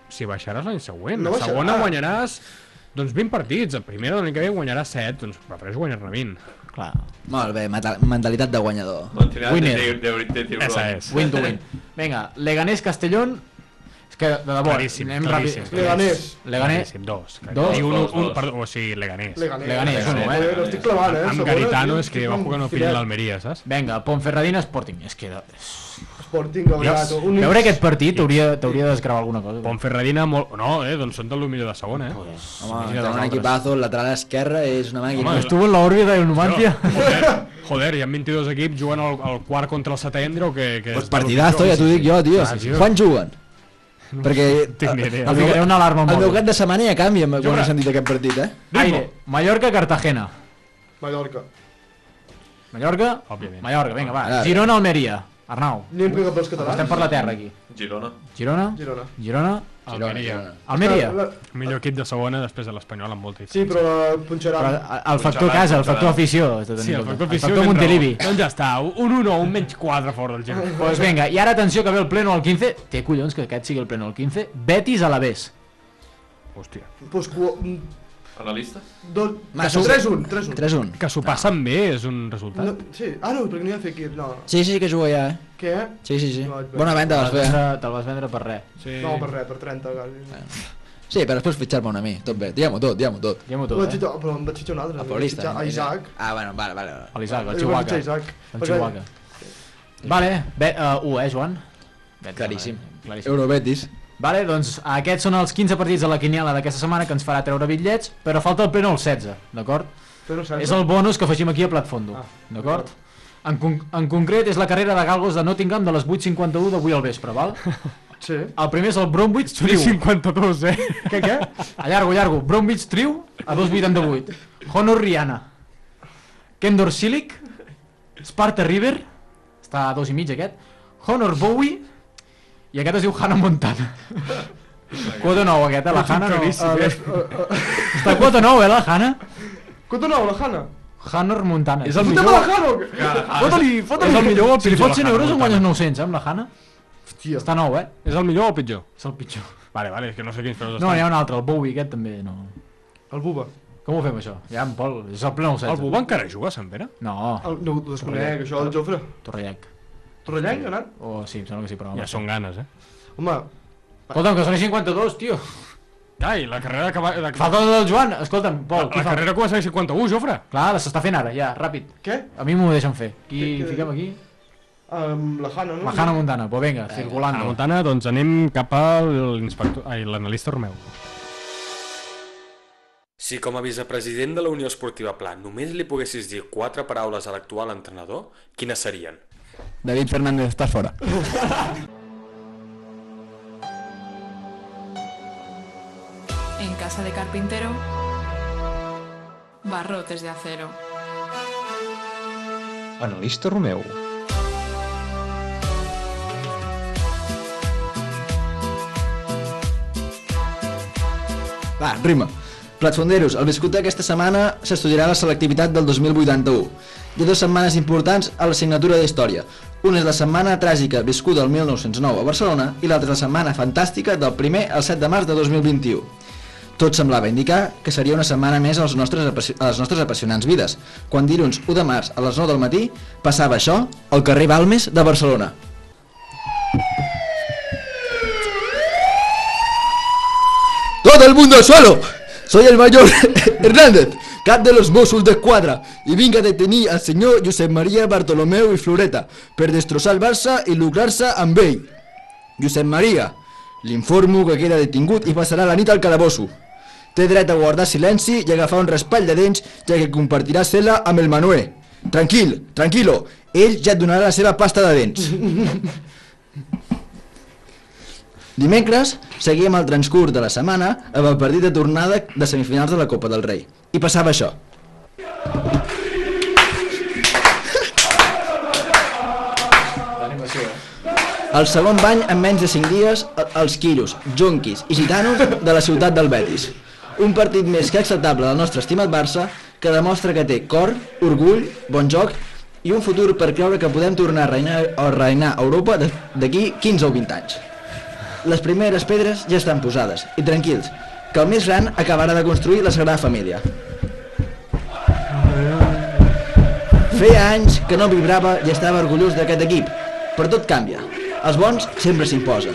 si baixaràs l'any següent?
No
No
baixarà. Ah.
segona guanyaràs doncs 20 partits, en primera l'any que ve guanyaràs 7, doncs prefereix guanyar-ne 20.
Clar.
Molt bé, mata- mentalitat de guanyador.
Esa és.
Win to win. Vinga, Leganés Castellón. És que, de debò,
Claríssim,
anem
claríssim.
ràpid. Leganés.
Claríssim, dos.
Dos.
I un,
Dos,
un,
dos.
perdó, o sigui, Leganés.
Leganés. Leganés, un, eh?
Leganés.
Lo estic clavant, eh?
Amb
Segona,
Garitano
tio,
és que
estic
va
com
jugar no pilli
filat.
l'Almeria, saps?
Vinga, Ponferradina Sporting. És que...
Sporting ha guanyat.
Veure-
un X.
Veure aquest partit t'hauria t'hauria de desgravar alguna cosa.
Ponferradina molt... No, eh, doncs són del millor de segona, eh? Pues,
Home, tenen un equipazo, el lateral esquerre és una màquina.
Estuvo en la òrbita de Numancia.
*laughs* Joder, hi ha 22 equips jugant al, al quart contra el setendre o que... que pues
Partidazo, ja t'ho dic jo, tio. Quan
*laughs*
juguen? Perquè
eh,
tinc ni idea.
el
Ficaré
meu-
una alarma al
el meu
mòbil.
cap de setmana ja canvia amb- quan
Jofre.
he sentit aquest partit, eh?
Aire, Mallorca-Cartagena.
Mallorca.
Mallorca?
Òbviament.
Mallorca, vinga, va.
Ara.
Girona, Almeria. Arnau.
Anem cap als catalans.
Estem per la terra, aquí.
Girona.
Girona?
Girona.
Girona?
Almeria.
Almeria.
La-
Millor equip de segona després de l'Espanyol amb molta
Sí,
diferència.
però la punxarà.
Però eh, el factor casa, el factor afició. has de tenir
Sí,
en
el
compte.
factor afició.
El factor
tens raó.
Montilivi.
Doncs ja està, un 1 un menys 4 fora del Girona.
Doncs pues vinga, i ara atenció que ve el pleno al 15. Té collons que aquest sigui el pleno al 15. Betis a la Bes.
Hòstia.
Pues, cu- mm,
Analistes?
dos,
Masu.
3-1, 3-1.
Que s'ho passen bé, és un resultat.
No, sí, ah, no, perquè no hi ha Fekir, no.
Sí, sí, que juga ja, eh?
Què?
Sí, sí, sí.
No, et veig.
Bona venda, vas
eh?
fer.
Te'l vas vendre per res.
Sí.
No, per res, per 30, quasi.
Sí, però després fitxar-me un a mi, tot bé. Diguem-ho tot, diguem-ho tot.
Diguem-ho
Ho vaig fitxar, però em vaig fitxar un altre.
A
vaig
Paulista.
fitxar A
també,
Isaac.
Ah, bueno, vale, vale. vale.
A l'Isaac, eh?
Jo
el
vaig
Chihuahua.
fitxar Isaac.
El
Perquè-
Chihuahua. Vale, bé, uh, 1, eh, Joan?
Claríssim.
Claríssim.
Eurobetis.
Vale, doncs aquests són els 15 partits de la quiniela d'aquesta setmana que ens farà treure bitllets, però falta el pleno al 16, d'acord?
Pleno 16.
És el bonus que afegim aquí a Platfondo,
Ah,
d'acord? En, con en concret és la carrera de Galgos de Nottingham de les 8.51 d'avui al vespre, val?
Sí.
El primer és el Bromwich Triu.
52, eh?
Què, què? A llargo, llargo. Bromwich Triu a 2.88. Honor Rihanna. Kendor Silic. Sparta River. Està a dos i mig aquest. Honor Bowie. I aquest es diu Hannah Montana. Quota 9 aquest, eh, la
És un
Hannah. No,
caríssim,
eh,
eh?
les- Està a quota 9, eh, la Hannah.
Quota 9, la Hannah.
Hannah Montana.
És el Fotem millor. a la Hannah, o què?
Fota-li, fota-li.
Ah, És el millor o el
Si li
pitjor,
fots
la
100
Hannah
euros en
Montana?
guanyes 900, eh, amb la Hannah. Està nou, eh?
És el millor o el pitjor?
És el pitjor.
Vale, vale, és que no sé quins preus estan.
No, n'hi ha un altre, el Bowie aquest també, no.
El Buba.
Com ho fem, això? Ja, en Pol, és el pleno 16.
El Buba encara juga, a Sant Pere?
No.
El, no ho desconec, això, el Jofre.
Torrellec.
Torrellenc, ha anat?
O sí, em sembla que sí, però...
Ja són ganes, eh?
Home,
Escolta'm, que són i 52, tio.
Ai, la carrera que va... La...
Falta el del Joan. Escolta'm, Pol,
La carrera comença a 51, Jofre.
Clar, s'està fent ara, ja, ràpid.
Què?
A mi m'ho deixen fer. Qui
Què- què-
fiquem aquí?
amb la Hannah, no?
La Hannah Montana. Pues vinga, circulant.
A Montana, doncs anem cap a l'inspector... Ai, l'analista Romeu.
Si com a vicepresident de la Unió Esportiva Pla només li poguessis dir quatre paraules a l'actual entrenador, quines serien?
David Fernández, estás fuera.
En casa de carpintero, barrotes de acero.
Analista Romeu.
Va, rima. Platfonderos, el viscut d'aquesta setmana s'estudiarà la selectivitat del 2081. Hi ha dues setmanes importants a l'assignatura d'Història. Una és la setmana tràgica viscuda el 1909 a Barcelona i l'altra és la setmana fantàstica del 1 al 7 de març de 2021. Tot semblava indicar que seria una setmana més als nostres apassi- a les nostres apassionants vides, quan dilluns 1 de març a les 9 del matí passava això al carrer Balmes de Barcelona. Todo el mundo al suelo. Soy el mayor *laughs* Hernández, cap de los Mossos de Escuadra, y venga detení al señor Josep María Bartolomeo y Floreta per destrozar Barça y lucrarse a Ambey. Josep María, li informo que queda detingut i passarà la nit al calabosso. Té dret a guardar silenci i agafar un raspall de dents, ja que compartirà cel·la amb el Manuel. Tranquil, tranquilo, ell ja et donarà la seva pasta de dents. Dimecres seguíem el transcurs de la setmana amb el partit de tornada de semifinals de la Copa del Rei. I passava això. El segon bany en menys de 5 dies, el- els quiros, jonquis i gitanos de la ciutat del Betis. Un partit més que acceptable del nostre estimat Barça que demostra que té cor, orgull, bon joc i un futur per creure que podem tornar a reinar, a reinar a Europa de- d'aquí 15 o 20 anys. Les primeres pedres ja estan posades, i tranquils, que el més gran acabarà de construir la Sagrada Família. Feia anys que no vibrava i estava orgullós d'aquest equip, però tot canvia. Els bons sempre s'imposen.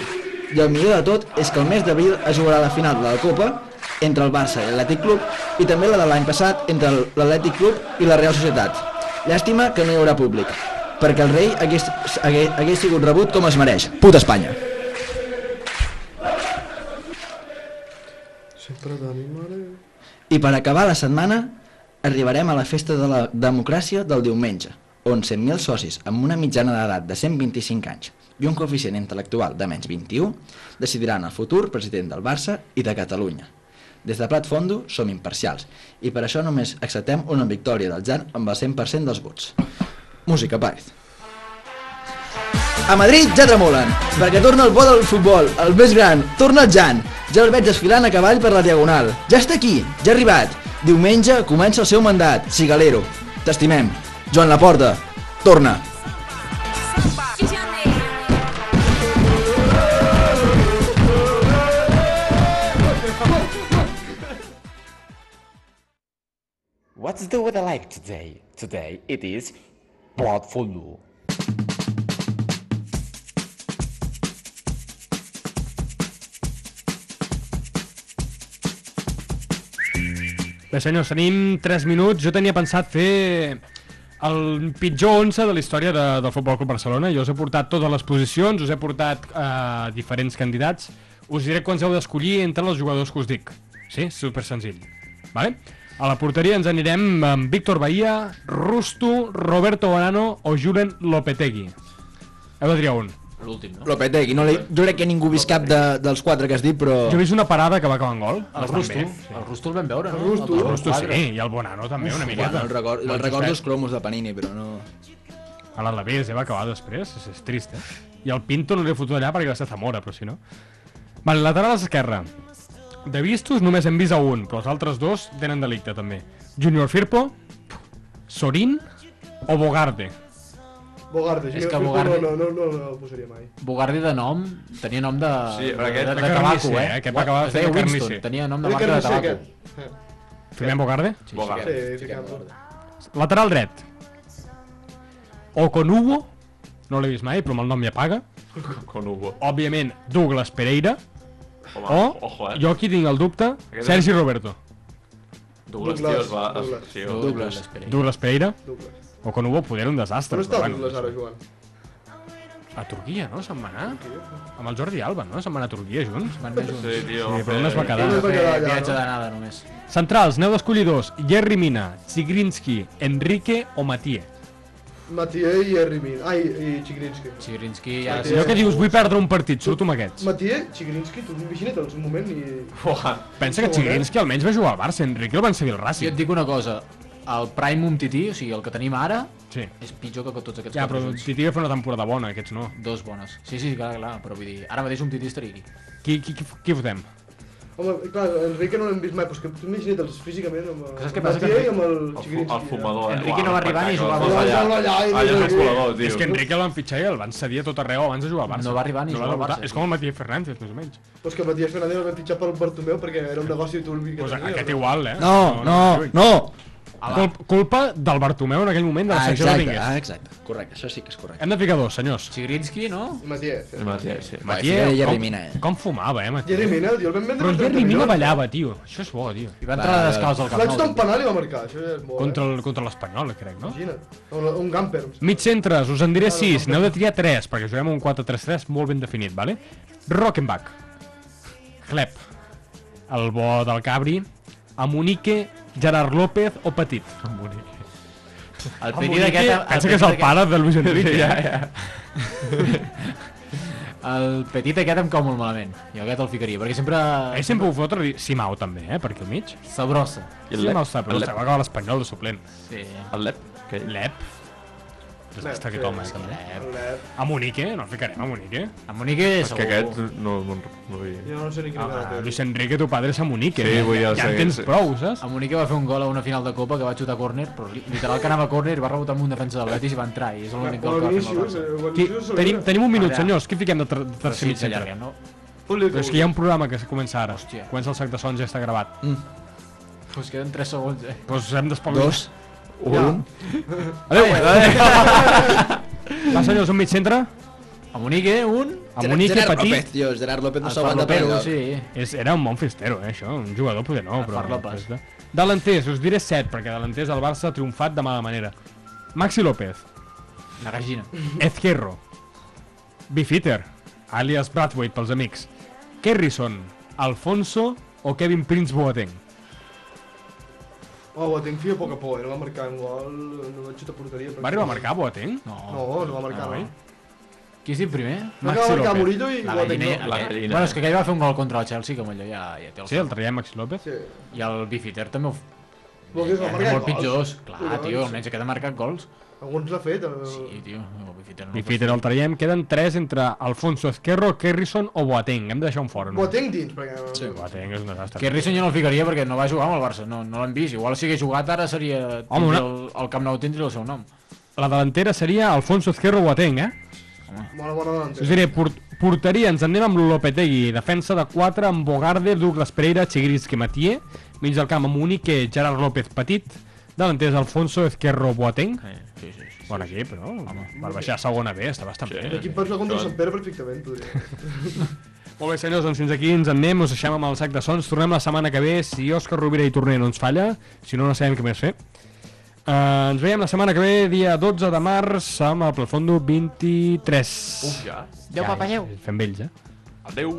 I el millor de tot és que el mes d'abril es jugarà la final de la Copa entre el Barça i l'Atlètic Club i també la de l'any passat entre l'Atlètic Club i la Real Societat. Llàstima que no hi haurà públic, perquè el rei hagués, hagués, hagués sigut rebut com es mereix. Puta Espanya!
Sempre tenim ara...
I per acabar la setmana, arribarem a la festa de la democràcia del diumenge, on 100.000 socis amb una mitjana d'edat de 125 anys i un coeficient intel·lectual de menys 21 decidiran el futur president del Barça i de Catalunya.
Des de Plat Fondo som imparcials i per això només acceptem una victòria del Jan amb el 100% dels vots. Música, Páez. A Madrid ja tremolen, perquè torna el bo del futbol, el més gran, torna el Jan. Ja el veig desfilant a cavall per la Diagonal. Ja està aquí, ja ha arribat. Diumenge comença el seu mandat, Cigalero. T'estimem. Joan Laporta, torna.
What's the weather like today? Today it is bloodful.
Bé, senyors, tenim 3 minuts. Jo tenia pensat fer el pitjor 11 de la història de, del Futbol Club Barcelona. Jo us he portat totes les posicions, us he portat eh, diferents candidats. Us diré quants heu d'escollir entre els jugadors que us dic. Sí? Super senzill. Vale? A la porteria ens anirem amb Víctor Bahía, Rusto, Roberto Bonano o Julen Lopetegui. Heu de triar un.
L'últim, no?
Lopetegui, no li, jo crec que ningú vist cap de, dels quatre que has dit, però...
Jo he vist una parada que va acabar en gol.
El
bastant
Rusto,
bé.
el Rusto el vam veure, no?
El Rusto, el Rusto
quadre.
sí, i el Bonano també, una miqueta.
Bueno, el record, el
Molt
record
justet.
dels cromos de Panini, però no...
A l'Alavés, eh, va acabar després, és, és trist, eh? I el Pinto no l'he fotut allà perquè va ser Zamora, però si no... Vale, lateral esquerra. De vistos només hem vist a un, però els altres dos tenen delicte, també. Junior Firpo, Sorin o Bogarde.
Bogarde, sí,
És que
no,
Bogarde-
No, no, no, no, no el posaria mai.
Bogardi de nom, tenia nom de...
Sí, però aquest-
de,
de
de tabaco,
carnisser,
eh?
eh? Aquest va acabar
es deia
fent de
Winston,
carnisser.
tenia nom de
Era
marca de
carnisser,
tabaco.
Eh,
Firmem Bogarde?
Sí,
Sí, fiquem Bogarde.
Lateral dret. Okonubo, no l'he vist mai, però amb el nom ja paga.
Okonubo.
Òbviament, Douglas Pereira.
Home,
o,
ojo, eh?
jo aquí tinc el dubte,
Aquest
Sergi
és-
Roberto.
Douglas,
Douglas,
tio, es va...
Douglas.
es- tio.
Douglas.
Douglas Pereira.
Douglas.
Okonubo poder era un desastre.
On està
però
el
bueno.
Douglas ara, Joan?
A Turquia, no? Se'n va anar? Amb el Jordi Alba, no? Se'n va anar a Turquia junts?
Van anar junts.
Sí, tio,
sí, però
va
on es va
fer-
quedar?
Va fer
allà,
viatge
no?
d'anada només.
Centrals, neu d'escollir dos. Jerry Mina, Zigrinski, Enrique o Matie.
Matié i Errimin. Ai, i Chigrinsky.
Chigrinsky
Ja, si allò que dius, vull perdre un partit, surto amb aquests.
Matié, Chigrinsky, tu imagina't un moment i...
Pensa que Zigrinski almenys va jugar al Barça, Enrique el van seguir al
Jo
Racing.
et dic una cosa, el Prime Umtiti, o sigui, el que tenim ara,
sí.
és pitjor que tots aquests
Ja,
quatre
però
junts.
Titi va fer una temporada bona, aquests no.
Dos bones. Sí, sí, clar, clar, però vull dir, ara mateix Umtiti estaria aquí.
Qui, qui, qui, qui fotem?
Home, clar, Enrique no l'hem vist mai, però és que tu imagina't els físicament amb el
Saps què passa?
Matié
Que
i amb el
fu-
Chigrinsky.
El fumador, eh?
Enrique
Uau,
no va arribar ni
espectacle,
jugava.
dos allà.
Allà, allà,
Allà és més volador, tio.
És que Enrique el van fitxar i el van cedir a tot arreu abans de jugar al Barça.
No va arribar ni
no va
jugar al
debutar.
Barça,
És com el Matías Fernández, més o menys.
Però és que Matié Fernández el vam fitxar pel Bartomeu perquè era un negoci turbi que
Pues
tenia.
aquest igual, eh?
No, no, no!
Cul culpa del Bartomeu en aquell moment de la
Ah,
secció
exacte,
Domínguez.
ah, exacte. Correcte, això sí que és correcte.
Hem de ficar dos, senyors.
Chigrinsky, no?
Matié.
Matié, sí.
Matié,
Jerry
com,
Mina, eh?
com fumava, eh, Matié?
Jerry Mina, el tio, el vam vendre
Però el
per
Jerry
30
Mina
milions.
ballava, tio. Això és bo, tio. I
va entrar Va, descalç al Camp
L'haig d'un penal i va marcar, això és molt,
Contra el- contra l'Espanyol, crec, no?
eh? Imagina't. Un, un gamper. em
Mig centres, us en diré 6, n'heu de triar 3, perquè juguem un 4-3-3 molt ben definit, vale? Rockenbach, Hleb, el bo del Cabri, Amunique, Gerard López o Petit. Amunique.
El petit d'aquest... el
eh? Pensa
petit
que és el
d'aquest-
pare de Luis Enrique.
Sí,
eh?
ja, ja. El petit aquest em cau molt malament. Jo aquest el ficaria, perquè sempre...
Ell sempre ho fotre, li- Simao també, eh, per aquí al mig.
Sabrosa.
I el Lep? Simao Sabrosa, va acabar l'Espanyol de suplent.
Sí.
El Lep? Que...
Lep. Desastre
sí,
que toma,
sí,
eh,
Lep.
també.
Lep.
Amunique, no el ficarem, Amunique.
Amunique
És que aquest no... no, no hi...
Jo no sé ni quin
Ah,
ah,
Luis Enrique, tu padre és Amunique.
Sí, vull dir,
ja,
o
ja en
sigui,
tens
sí.
prou, saps?
Amunique va fer un gol a una final de Copa que va xutar córner, però li- literal que anava a córner i va rebotar amb un defensa del Betis i va entrar, i és l'únic gol que va fer amb el
Vinicius,
Barça.
eh,
Qui,
Vinicius,
tenim, tenim un minut,
Allà.
senyors. Què fiquem de, ter de
Però
tercer
sí,
mig centre?
s'allarguem, no?
Públic,
Però és que hi ha un programa que comença ara. Hòstia. Comença el sac de sons, ja està gravat. Doncs mm.
Pues queden 3 segons, eh?
pues hem d'espavilar.
Dos.
Un.
Adéu,
*laughs* Va, senyors, un mig centre.
Amunique, un...
Amunique,
Gerard
petit.
López, tio, Gerard López no
El
s'aguanta per
Pablo
lloc.
sí.
És, era un bon festero, eh, això. Un jugador, poder no, però...
Far López.
Delanters, us diré 7, perquè delanters el Barça ha triomfat de mala manera. Maxi López,
La gallina.
Ezquerro, Bifitter, alias Bradwaite pels amics, Kerrison, Alfonso o Kevin Prince Boateng.
Oh, Boateng fia poca por, eh? no va marcar un gol, no va xutar porteria. però-
Va arribar a marcar Boateng?
No,
no va marcar, no.
oi?
Qui has dit primer?
No acaba de marcar Murillo i
la
Guatemala.
gallina, la
La
gallina.
gallina.
Bueno, és que aquell va fer un gol contra el Chelsea, com allò ja, ja té el
Sí, el traia Maxi López.
Sí.
I el Bifiter també ho... f-
Vol dir que va
Ja,
marcar
molt
gols.
pitjors. Clar,
Collons.
tio, almenys aquest ha marcat gols.
Alguns l'ha fet. eh, El...
Sí, tio, el Bifiter no
I Peter el traiem, queden 3 entre Alfonso Esquerro, Kerrison o Boateng. Hem de deixar un fora, no?
Boateng dins, perquè... Sí,
Boateng és un desastre.
Que Risson ja no el ficaria perquè no va jugar amb el Barça, no, no l'hem vist. Igual si hagués jugat ara seria...
Home, una-
tindria el, el Camp Nou tindria el seu nom.
La delantera seria Alfonso Esquerro Boateng, eh?
Bona, bona
Sí. Us
delantera.
diré, port porteria, ens en anem amb Lopetegui, defensa de 4 amb Bogarde, Douglas Pereira, Chigriski Matier, mig del camp amb Unique, Gerard López Petit, davanters Alfonso Esquerro Boateng.
Sí, sí, sí.
Bon equip, no? Home, per baixar a segona B està bastant sí, bé. eh?
L'equip pot jugar contra el Sant Pere perfectament, podria.
Molt bé, senyors, doncs fins aquí ens en anem, us deixem amb el sac de sons, tornem la setmana que ve, si Òscar Rovira i Torner no ens falla, si no, no sabem què més fer. Uh, ens veiem la setmana que ve, dia 12 de març, amb el Plafondo 23.
Uf, ja.
Fem vells, eh?
Adeu.